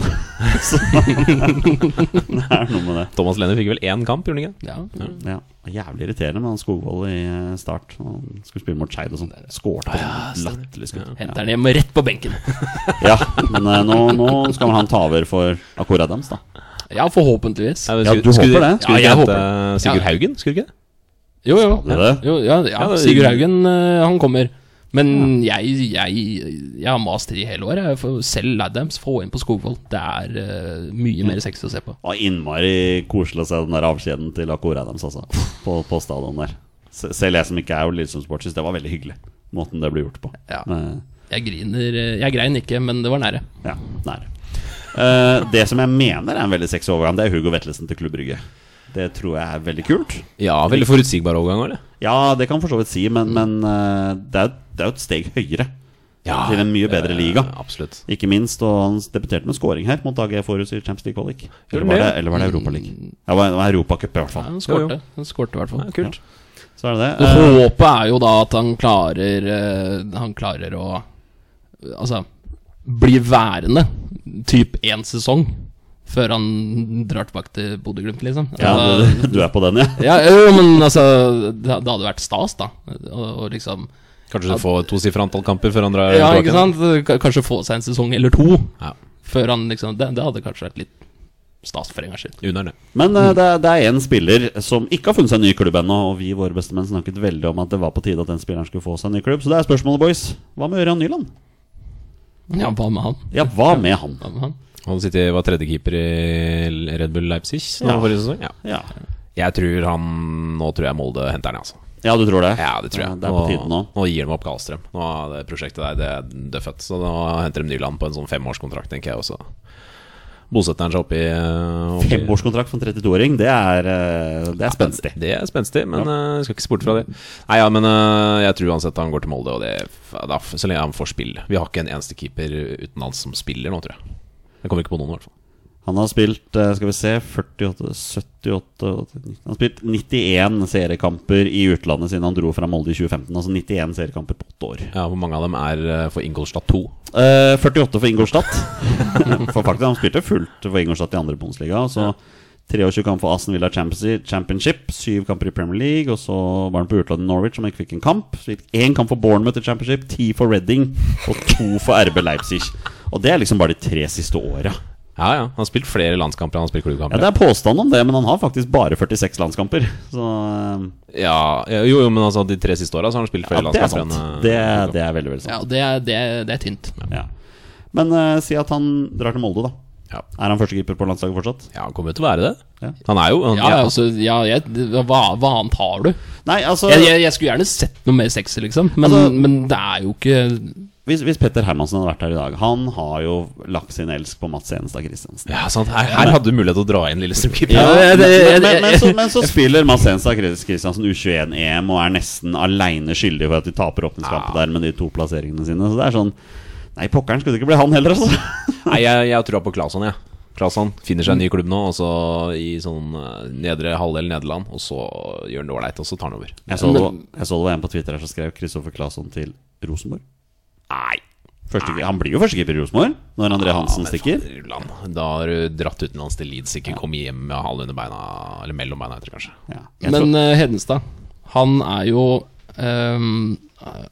Speaker 3: Så det er noe med det.
Speaker 1: Thomas Lene fikk vel én kamp, gjorde han ikke?
Speaker 2: Ja.
Speaker 3: Ja, Jævlig irriterende med han Skogvold i eh, start. Han skulle spille mot Skeid og sånn. Skårte på sånn latterlig skudd.
Speaker 2: Henter den hjem rett på benken.
Speaker 3: Ja, men eh, nå, nå skal han ta over for Akor Adams, da.
Speaker 2: Ja, forhåpentligvis.
Speaker 1: Nei, men
Speaker 3: Ja,
Speaker 1: skulle-
Speaker 3: du
Speaker 1: skulle-
Speaker 3: håper det?
Speaker 1: Skulle ikke
Speaker 2: Ja, jeg
Speaker 1: hete Sigurd
Speaker 2: Ja.
Speaker 1: Haugen? Skulle ikke det?
Speaker 2: Jo, jo.
Speaker 3: Skal det det?
Speaker 2: jo ja, ja,
Speaker 1: Ja, det-
Speaker 2: Sigurd Haugen, eh, han kommer. Men jeg, jeg, jeg har mast i hele året. Jeg får- Selv Adams, få inn på Skogvold. Det er eh, mye mer sexy å se på.
Speaker 3: Og innmari koselig å se den der avskjeden til Akor Adams altså, på, på stadion der. Se- Selv jeg som ikke er jo Lillestrøm-sport, syns det var veldig hyggelig. Måten det ble gjort på.
Speaker 2: Ja.
Speaker 3: Men,
Speaker 2: Jeg griner eh, Jeg grein ikke, men det var nære.
Speaker 3: ja nære. Eh, det som jeg mener er en veldig sexy overgang, det er Hugo Vetlesen til Klubb Brygge. Det tror jeg er veldig kult.
Speaker 1: Ja, veldig forutsigbar overgang, var det?
Speaker 3: Ja, det kan for så vidt si, men, men eh, det, er, det er jo et steg høyere.
Speaker 1: Ja,
Speaker 3: til en mye bedre liga.
Speaker 1: Eh, Absolutt.
Speaker 3: Ikke minst, og han debuterte med scoring her mot AG Forus i Champions League Qualic. Eller
Speaker 1: han
Speaker 3: var
Speaker 1: det?
Speaker 3: det, eller var det Europaliga? Ja, det var- det var Europacup, i hvert
Speaker 2: Ja,
Speaker 3: fall.
Speaker 1: Jo,
Speaker 2: Han
Speaker 1: jo.
Speaker 2: skårte, han skårte i hvert fall.
Speaker 1: Ja, kult.
Speaker 3: Så er det det.
Speaker 2: Og
Speaker 3: Eh,
Speaker 2: Håpet er jo da at han klarer eh, Han klarer å Altså bli værende typ én sesong før han drar tilbake til Bodø-Glimt, liksom.
Speaker 3: ja,
Speaker 2: Altså,
Speaker 3: du, du er på den, ja?
Speaker 2: ja, jo, men altså Det, det hadde vært stas, da. Å å liksom
Speaker 1: Kanskje du får tosifra antall kamper før han drar
Speaker 2: Ja,
Speaker 1: tilbake
Speaker 2: ikke
Speaker 1: igjen.
Speaker 2: sant? K- Kanskje få seg en sesong eller to
Speaker 1: Ja,
Speaker 2: før han liksom Det, det hadde kanskje vært litt stas for en gangs skyld.
Speaker 1: Under det.
Speaker 3: Men
Speaker 1: Mm.
Speaker 3: eh, det, er- det er en spiller som ikke har funnet seg en ny klubb ennå, og vi i Våre bestemenn snakket veldig om at det var på tide at den spilleren skulle få seg en ny klubb. Så det er spørsmålet, boys. Hva med Ørjan Nyland?
Speaker 2: Ja, hva med han?
Speaker 3: Ja, hva med han?
Speaker 2: Hva med han?
Speaker 1: Han sitter, var tredje keeper i Red Bull Leipzig nå
Speaker 3: Ja.
Speaker 1: forrige sesong. Ja.
Speaker 3: Ja,
Speaker 1: Jeg tror han Nå tror jeg Molde henter han, altså.
Speaker 3: ja du tror det?
Speaker 1: Ja, det tror jeg.
Speaker 3: Det er på tide nå.
Speaker 1: nå gir de opp Karlstrøm. Nå er det prosjektet der det er døffet. Så nå henter de Nyland på en sånn femårskontrakt, tenker jeg også. Bosetter han seg eh, oppi oppi-
Speaker 3: Femårskontrakt for en 32-åring, det er, eh, det er spenstig.
Speaker 1: Det er spenstig, men eh, skal ikke se bort fra det. Nei, ja, men eh, jeg tror uansett han går til Molde, og det, da, så lenge han får spille. Vi har ikke en eneste keeper utenlands som spiller nå, tror jeg. Jeg kommer ikke på noen, i hvert fall.
Speaker 3: Han har spilt eh, skal vi se, 48, 78 89. Han har spilt 91 seriekamper i utlandet siden han dro fra Molde i 2015. Altså 91 seriekamper på åtte år.
Speaker 1: Ja, Hvor mange av dem er eh, for Ingolstadt 2?
Speaker 3: Eh, 48 for Ingolstadt. for faktisk, han spilte fullt for Ingolstadt i andre Bundesliga. og Så 23 kamper for Aston Villa Champions- Championship, syv kamper i Premier League. Og så var han på utlandet i Norwich, som ikke fikk en kamp. Så fikk én kamp for Bournemouth i Championship, ti for Reading og to for RB Leipzig. Og det er liksom bare de tre siste åra.
Speaker 1: Ja, ja. Han har spilt flere landskamper enn han har spilt
Speaker 3: Ja,
Speaker 1: klubbkamper.
Speaker 3: det er påstand om det, men han har faktisk bare 46 landskamper. Så eh,
Speaker 1: Ja, jo, jo, men altså de tre siste åra har han spilt flere
Speaker 3: ja, det er sant.
Speaker 1: landskamper enn
Speaker 3: Det,
Speaker 1: eh,
Speaker 3: det er veldig, veldig
Speaker 2: Ja,
Speaker 3: sant.
Speaker 2: det er, det, er- det er tynt.
Speaker 3: Ja. Men eh, si at han drar til Molde, da.
Speaker 1: Ja.
Speaker 3: Er han førstekeeper på landslaget fortsatt?
Speaker 1: ja, han kommer jo til å være det.
Speaker 3: Ja.
Speaker 1: Han er jo han,
Speaker 2: Ja,
Speaker 1: ja,
Speaker 2: altså ja, jeg, hva, hva annet har du?
Speaker 3: Nei, altså
Speaker 2: Jeg, jeg, jeg skulle gjerne sett noe mer sexy, liksom, men,
Speaker 3: Altså-
Speaker 2: men det er jo ikke
Speaker 3: Hvis, hvis Petter Hermansen hadde vært her i dag Han har jo lagt sin elsk på Mats Enestad Christiansen.
Speaker 1: ja, sant. Her, her hadde du mulighet til å dra inn Lillestrøm-keeper.
Speaker 2: Ja, det-
Speaker 3: men,
Speaker 2: det-
Speaker 3: men, men,
Speaker 2: jeg-
Speaker 3: så, men så spiller Mats Enestad Christiansen U21-EM og er nesten aleine skyldig for at de taper åpningskampet der med de to plasseringene sine. Så det er sånn Nei, pokkeren skulle det ikke bli han heller, altså.
Speaker 1: Nei, jeg, jeg tror på Claesson, jeg. Claesson finner seg en ny klubb nå, og så i sånn eh, nedre halvdel Nederland, og så gjør han det ålreit, og så tar han over.
Speaker 3: Jeg så, det, var- jeg så det var en på Twitter her som skrev Kristoffer Claesson til Rosenborg.
Speaker 1: Nei.
Speaker 3: Første, han blir jo førstekeeper i Rosenborg når André Hansen stikker.
Speaker 1: Rulland. Da har du dratt utenlands til Leeds, ikke kommet hjem med halen under beina, eller mellom beina, heter det kanskje.
Speaker 3: Ja, jeg tror-
Speaker 2: Men eh, Hedenstad, han er jo ehm,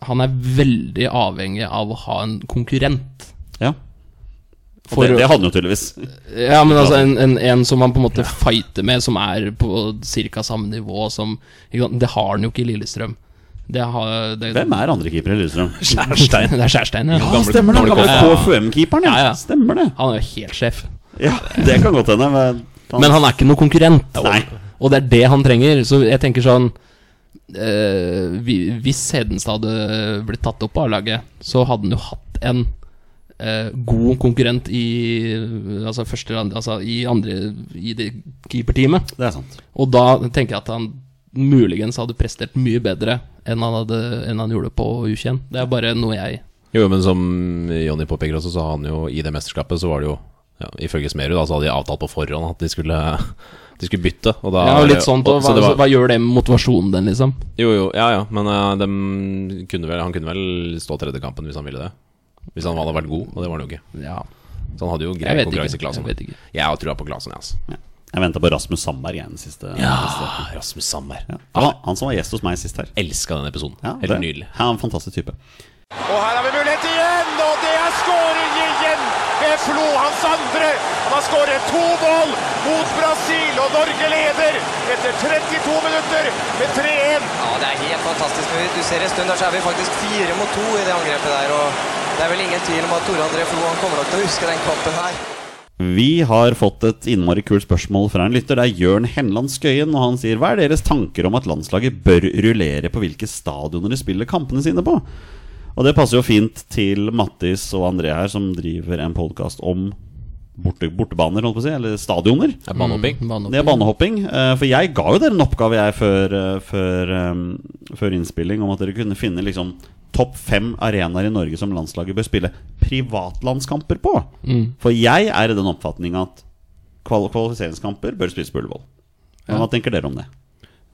Speaker 2: Han er veldig avhengig av å ha en konkurrent.
Speaker 3: ja. Og
Speaker 2: For,
Speaker 3: det, det hadde han jo tydeligvis.
Speaker 2: ja, men altså en, en, en som han på en måte fighter med, som er på ca. samme nivå som ikke sant? Det har han jo ikke i Lillestrøm. Det har, det,
Speaker 3: Hvem er andrekeeper i Lillestrøm?
Speaker 1: Skjærstein.
Speaker 2: Det er Skjærstein, ja.
Speaker 3: Ja, stemmer det!
Speaker 1: gamle
Speaker 3: Gamle
Speaker 1: Kåss.
Speaker 3: KFUM-keeperen,
Speaker 2: Ja,
Speaker 3: ja.
Speaker 2: ja.
Speaker 3: Stemmer det.
Speaker 2: Han er jo helt sjef.
Speaker 3: Ja, det kan godt hende. Men, han,
Speaker 2: Men han er ikke noen konkurrent.
Speaker 3: Nei.
Speaker 2: Og det er det han trenger. Så jeg tenker sånn eh, vi- Hvis Hedenstad hadde blitt tatt opp av laget, så hadde han jo hatt en eh, god konkurrent i eh, Altså første eller andre Altså i andre I det keeperteamet.
Speaker 3: Det er sant.
Speaker 2: Og da tenker jeg at han muligens hadde prestert mye bedre enn han, hadde, enn han gjorde på U21. Det er bare noe jeg
Speaker 1: Jo, men som Jonny påpeker også, så har han jo i det mesterskapet, så var det jo ja, Ifølge Smerud, da, så hadde de avtalt på forhånd at de skulle, de skulle bytte. Og da
Speaker 2: Ja,
Speaker 1: var
Speaker 2: og
Speaker 1: det-
Speaker 2: litt sånt,
Speaker 1: og-
Speaker 2: og
Speaker 1: så
Speaker 2: hva,
Speaker 1: det var-
Speaker 2: hva gjør det med motivasjonen den, liksom?
Speaker 1: Jo, jo, ja, ja, men eh, dem kunne vel, han kunne vel stå tredje kampen hvis han ville det. Hvis han hadde vært god, og det var han jo ikke.
Speaker 2: Ja,
Speaker 1: Så han hadde jo grei
Speaker 2: jeg vet ikke.
Speaker 1: konkurranse i
Speaker 2: Jeg
Speaker 1: Klasen.
Speaker 2: vet ikke.
Speaker 1: Jeg har trua på Klasen, jeg, altså.
Speaker 3: Ja. Jeg venta på Rasmus Sandberg igjen den siste. siste.
Speaker 1: Ah, Rasmus Sandberg.
Speaker 3: Ja. Det var han som var gjest hos meg sist her.
Speaker 1: Elska den episoden.
Speaker 3: Ja,
Speaker 1: Helt
Speaker 3: det-
Speaker 1: nydelig.
Speaker 3: Ja, en fantastisk type.
Speaker 4: Og her har vi mulighet igjen, og det er skåring igjen ved Flo, hans andre. Han har skåret to mål mot Brasil, og Norge leder etter 32 minutter med 3-1.
Speaker 5: Ja, det er helt fantastisk. Du ser en stund der så er vi faktisk fire mot to i det angrepet der. Og det er vel ingen tvil om at Tore André Flo han kommer nok til å huske den kampen her.
Speaker 3: Vi har fått et innmari kult spørsmål fra en lytter. Det er Jørn Henland Skøyen, og han sier Hva er deres tanker om at landslaget bør rullere på hvilke stadioner de spiller kampene sine på? Og det passer jo fint til Mattis og André her, som driver en podkast om borte, bortebaner, holdt på å si, eller stadioner.
Speaker 1: Det
Speaker 2: Mm,
Speaker 1: er banehopping.
Speaker 2: Banehopping.
Speaker 3: Det er banehopping. eh, For jeg ga jo dere en oppgave jeg før, eh, før, eh, før innspilling om at dere kunne finne liksom topp fem arenaer i Norge som landslaget bør spille privatlandskamper på.
Speaker 2: Mm.
Speaker 3: For jeg er i den oppfatning at kval kvalifiseringskamper bør spilles på Ullevål. Men Hva tenker dere om det?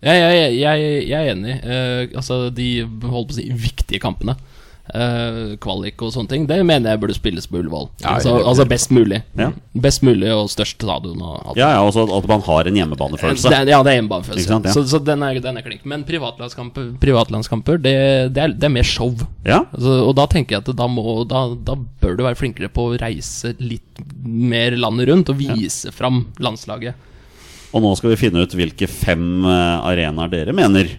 Speaker 2: Ja, jeg, jeg, jeg, jeg er enig. Eh, altså, de holdt på å si viktige kampene eh, kvalik og sånne ting, det mener jeg burde spilles på Ullevål.
Speaker 1: Ja,
Speaker 2: altså,
Speaker 1: det-
Speaker 2: altså best mulig.
Speaker 3: Ja.
Speaker 2: Best mulig og størst stadion og alt.
Speaker 3: Ja, ja, også at- at man har en hjemmebanefølelse.
Speaker 2: Det, er- ja, det er
Speaker 3: Ikke sant, ja.
Speaker 2: hjemmebanefølelse. Så, så den er, den er klink. Men privatlandskamper, privatlandskamper det, det, er, det er mer show.
Speaker 3: Ja,
Speaker 2: Altså, og da tenker jeg at da, må, da, da bør du være flinkere på å reise litt mer landet rundt og vise fram landslaget.
Speaker 3: Og nå skal vi finne ut hvilke fem eh, arenaer dere mener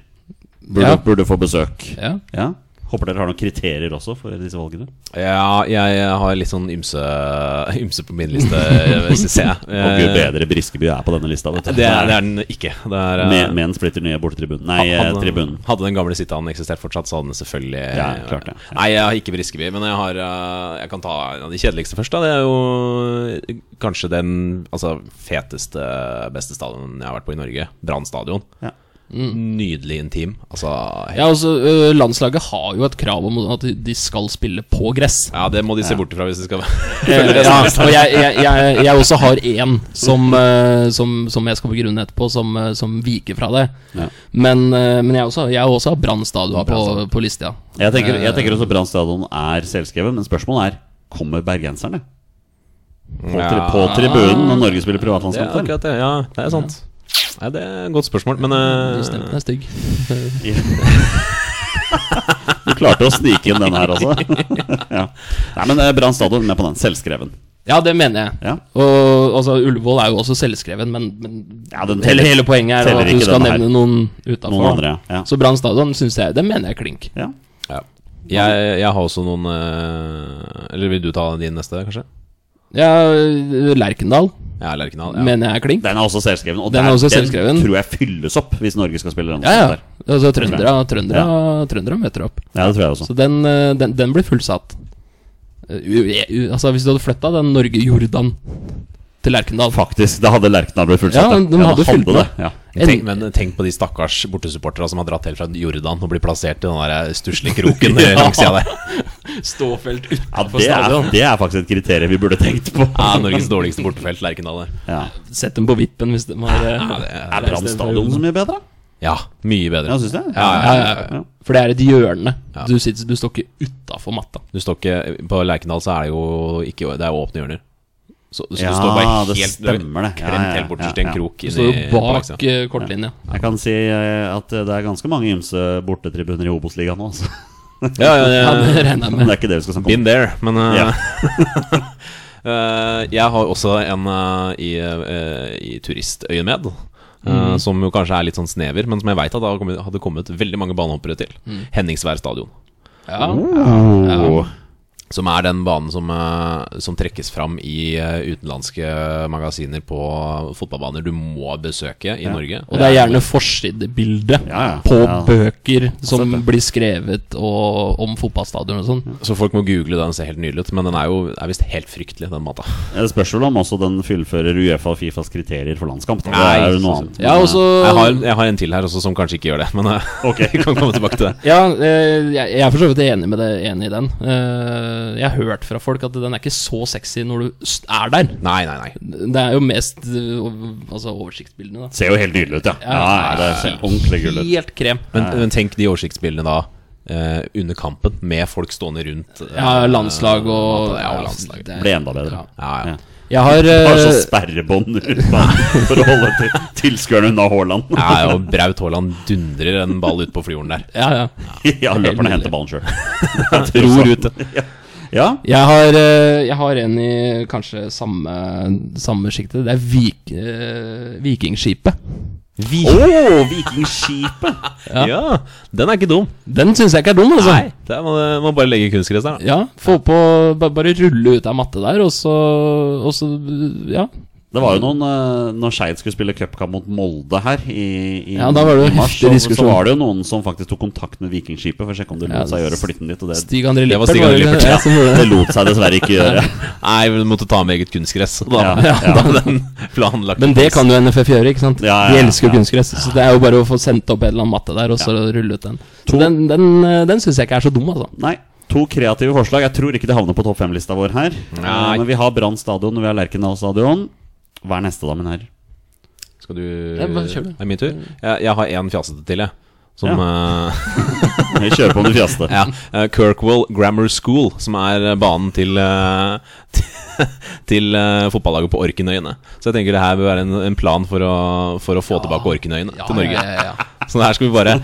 Speaker 3: burde,
Speaker 2: Ja.
Speaker 3: burde få besøk.
Speaker 2: Ja.
Speaker 3: Ja. Håper dere har noen kriterier også for disse valgene.
Speaker 1: Ja, jeg har litt sånn ymse, ymse på min liste, syns jeg.
Speaker 3: Og gud
Speaker 1: Eh,
Speaker 3: bedre Briskeby er på denne lista. Vet du.
Speaker 1: Det er, det er den ikke. Det er, eh,
Speaker 3: Med, med en splitter nye bortetribunen. Nei, eh,
Speaker 1: hadde,
Speaker 3: tribunen.
Speaker 1: hadde den gamle sittaen eksistert fortsatt, så hadde den selvfølgelig
Speaker 3: Ja, klart det.
Speaker 1: Nei, jeg har ikke Briskeby, men jeg har eh, Jeg kan ta en av de kjedeligste først. Da. Det er jo eh, kanskje den altså, feteste, beste stadion jeg har vært på i Norge. Brann stadion.
Speaker 3: Ja.
Speaker 1: Nydelig intim. Altså helt-
Speaker 2: Ja, altså, ø, landslaget har jo et krav om at de skal spille på gress.
Speaker 1: ja, det må de se bort ifra hvis de skal
Speaker 2: Eh, ja, og jeg, jeg, jeg, jeg også har én som, eh, som, som jeg skal begrunne etterpå, som, eh, som viker fra det.
Speaker 3: Ja.
Speaker 2: Men, eh, men jeg også, jeg også har Brann stadion på,
Speaker 1: Brann stadion.
Speaker 2: på lista.
Speaker 3: Jeg tenker,
Speaker 2: Eh.
Speaker 3: jeg tenker også Brann stadion er selvskrevet, men spørsmålet er kommer bergenserne på, tri
Speaker 1: Ja.
Speaker 3: på tribunen når Norge spiller
Speaker 1: Det er
Speaker 3: privatlandskamper?
Speaker 1: akkurat det. Ja, det er sant. Nei, det er et godt spørsmål, men eh,
Speaker 2: Du stemte, den er stygg.
Speaker 3: Du klarte å snike inn den her også. ja. Nei, men eh, Brann stadion med på den. Selvskreven.
Speaker 2: Ja, det mener jeg.
Speaker 3: Ja.
Speaker 2: Og altså, Ullevål er jo også selvskreven, men, men
Speaker 3: Ja, den
Speaker 2: hele,
Speaker 3: teller-
Speaker 2: hele poenget er
Speaker 3: teller
Speaker 2: at du
Speaker 3: ikke
Speaker 2: skal
Speaker 3: denne her.
Speaker 2: nevne noen utafor.
Speaker 3: Noen andre, ja. Ja.
Speaker 2: Så Brann stadion syns jeg Det mener jeg er klink.
Speaker 3: Ja.
Speaker 1: ja. jeg, jeg har også noen eh, Eller vil du ta din neste, kanskje?
Speaker 2: Ja, ø, Lerkendal
Speaker 1: Ja, Lerkendal. Ja.
Speaker 2: mener jeg er klink.
Speaker 3: Den er også selvskreven, og
Speaker 2: Den er
Speaker 3: der-
Speaker 2: også selvskreven.
Speaker 3: den tror jeg fylles opp hvis Norge skal spille den.
Speaker 2: Ja, ja. Altså, trøndere, trøndere,
Speaker 3: Ja.
Speaker 2: trøndere møter opp.
Speaker 3: ja, det tror jeg også.
Speaker 2: Så den, eh, den, den blir fullsatt. Eh, u- u- Altså Hvis du hadde flytta den Norge-Jordan til Lerkendal
Speaker 3: Faktisk, da hadde Lerkendal blitt fullsatt.
Speaker 2: Ja, de hadde fylt den
Speaker 3: det.
Speaker 2: opp.
Speaker 3: Ja.
Speaker 1: Tenk,
Speaker 2: en,
Speaker 1: men tenk på de stakkars bortesupporterne som har dratt helt fra Jordan og blir plassert i den der eh, stusslige kroken langs sida der.
Speaker 2: Ståfelt
Speaker 3: Ja,
Speaker 2: utenfor
Speaker 3: det, er,
Speaker 2: stadion.
Speaker 3: det er faktisk et kriterium vi burde tenkt på.
Speaker 1: Ja, Norges dårligste bortefelt, Lerkendal. der.
Speaker 3: Ja.
Speaker 2: Sett dem på vippen hvis de har eh,
Speaker 1: Ja, det er-
Speaker 3: Er Brann stadion så mye bedre?
Speaker 1: Ja, mye
Speaker 3: Ja,
Speaker 1: bedre.
Speaker 3: syns jeg.
Speaker 1: Ja, ja, ja, ja.
Speaker 3: Ja.
Speaker 2: For det er et hjørne.
Speaker 1: Ja.
Speaker 2: Du, sitter, du står ikke utafor matta.
Speaker 1: Du står ikke På Lerkendal så er det jo ikke Det er jo åpne hjørner. Så, så
Speaker 3: Ja,
Speaker 1: du står bare
Speaker 3: det
Speaker 1: helt
Speaker 3: stemmer det. Ja,
Speaker 1: Kremt
Speaker 3: ja,
Speaker 1: helt borterst i
Speaker 3: ja,
Speaker 1: en
Speaker 3: ja.
Speaker 1: krok
Speaker 2: Du
Speaker 1: inni
Speaker 2: står jo
Speaker 1: på
Speaker 2: bak
Speaker 1: baksida.
Speaker 2: eh, kortlinja.
Speaker 3: Jeg kan si eh, at eh, det er ganske mange ymse bortetribuner i Obos-ligaen nå, altså.
Speaker 1: Ja, ja,
Speaker 2: Ja,
Speaker 1: ja,
Speaker 2: det regner jeg
Speaker 3: Men
Speaker 2: med.
Speaker 3: det er ikke det vi skal snakke om.
Speaker 1: Been there, men eh,
Speaker 3: Ja.
Speaker 1: eh, Jeg har også en eh, i, eh, i turistøyemed. eh,
Speaker 2: Mm.
Speaker 1: som jo kanskje er litt sånn snever, men som jeg veit hadde kommet, hadde kommet veldig mange banehoppere til.
Speaker 2: Mm.
Speaker 1: Henningsvær stadion.
Speaker 2: Ja.
Speaker 3: Oh.
Speaker 1: Som er den banen som, eh, som trekkes fram i eh, utenlandske magasiner på fotballbaner du må besøke i Norge.
Speaker 2: Og det er gjerne forsidebilde
Speaker 3: Ja, ja.
Speaker 2: på
Speaker 3: Ja.
Speaker 2: bøker som blir skrevet og, om fotballstadion og sånn.
Speaker 1: Så folk må google den, ser helt nydelig ut. Men den er jo er visst helt fryktelig, den mata.
Speaker 3: Det spørs vel om også den fullfører Uefa og Fifas kriterier for landskamp. da. Det
Speaker 1: Nei,
Speaker 3: er jo noe
Speaker 1: så-
Speaker 3: annet.
Speaker 2: Ja, og så-
Speaker 1: Jeg, har- jeg har en til her også som kanskje ikke gjør det, men eh,
Speaker 3: Ok.
Speaker 1: vi kan komme tilbake til det.
Speaker 2: Ja, eh, jeg, jeg er for så vidt enig, med det, enig i den. Eh, Jeg har hørt fra folk at den er ikke så sexy når du s- er der.
Speaker 1: Nei, nei, nei.
Speaker 2: Det er jo mest eh, ov- altså oversiktsbildene, da.
Speaker 3: Ser jo helt nydelig ut, ja. ja, ja det ser ordentlig gull ut.
Speaker 2: Helt krem.
Speaker 1: Men, men tenk de oversiktsbildene da eh, under kampen, med folk stående rundt. eh,
Speaker 2: Ja, landslag og
Speaker 1: Ja, og landslag.
Speaker 2: det er-
Speaker 3: Ble enda bedre.
Speaker 2: Ja.
Speaker 1: Ja, ja.
Speaker 2: Jeg har
Speaker 3: Har så
Speaker 2: eh,
Speaker 3: sperrebånd rundt meg for å holde til, tilskuerne unna Haaland.
Speaker 1: ja, og Braut Haaland dundrer en ball ut på fjorden der.
Speaker 2: ja, ja.
Speaker 3: Ja, løper ned og
Speaker 2: nydelig.
Speaker 3: henter ballen sjøl. Ror ut. Ja. ja.
Speaker 2: Jeg har, eh, jeg har en i kanskje samme, samme sjiktet. Det er vik, eh, Vikingskipet.
Speaker 3: Å, Vikingskipet!
Speaker 1: Ja. den er ikke dum.
Speaker 2: Den syns jeg ikke er dum, altså.
Speaker 1: Nei, det er, må, må bare legge kunstgress der. da.
Speaker 2: Ja, få på ba- Bare rulle ut av matte der, og så, og så Ja.
Speaker 3: Det var jo noen eh, Når Skeid skulle spille cupkamp mot Molde her i, i,
Speaker 2: Ja, da var det jo
Speaker 3: i mars,
Speaker 2: heftig
Speaker 3: så, så
Speaker 2: diskusjon.
Speaker 3: var det jo noen som faktisk tok kontakt med Vikingskipet for å sjekke om det
Speaker 2: Ja,
Speaker 3: lot seg gjøre å flytte den dit. Og det,
Speaker 2: Stig André
Speaker 1: Det var
Speaker 2: Lippert.
Speaker 1: Stig André
Speaker 2: det-
Speaker 1: Lippert,
Speaker 2: ja, som gjorde
Speaker 3: det
Speaker 2: det.
Speaker 3: lot seg dessverre ikke gjøre.
Speaker 1: Nei, vi måtte ta med eget kunstgress. Da,
Speaker 3: Ja,
Speaker 1: ja,
Speaker 3: ja.
Speaker 1: da den planlagt
Speaker 2: Men det kan jo NFF gjøre, ikke sant?
Speaker 3: Ja, ja,
Speaker 2: De elsker jo
Speaker 3: ja.
Speaker 2: kunstgress. Så det er jo bare å få sendt opp en eller annen matte der, og så rulle ut den. Så den, den, eh, den syns jeg ikke er så dum, altså.
Speaker 3: Nei. To kreative forslag. Jeg tror ikke det havner på topp fem-lista vår her.
Speaker 1: Nei.
Speaker 3: Eh, Men vi har Brann stadion, og vi har Lerkendal stadion. Hva er neste, da, min herre?
Speaker 1: Skal du
Speaker 2: Ja, bare kjør du.
Speaker 1: Er det min tur? Jeg, jeg har en fjasete til, jeg. Som eh,
Speaker 3: Vi kjører på med fjaste.
Speaker 1: ja, eh, Kirkwall Grammar School, som er eh, banen til, eh, til eh, fotballaget på Orkenøyene. Så jeg tenker det her bør være en, en plan for å, for å få tilbake Orkenøyene til Norge.
Speaker 2: Ja, ja, ja.
Speaker 1: Så her skal vi bare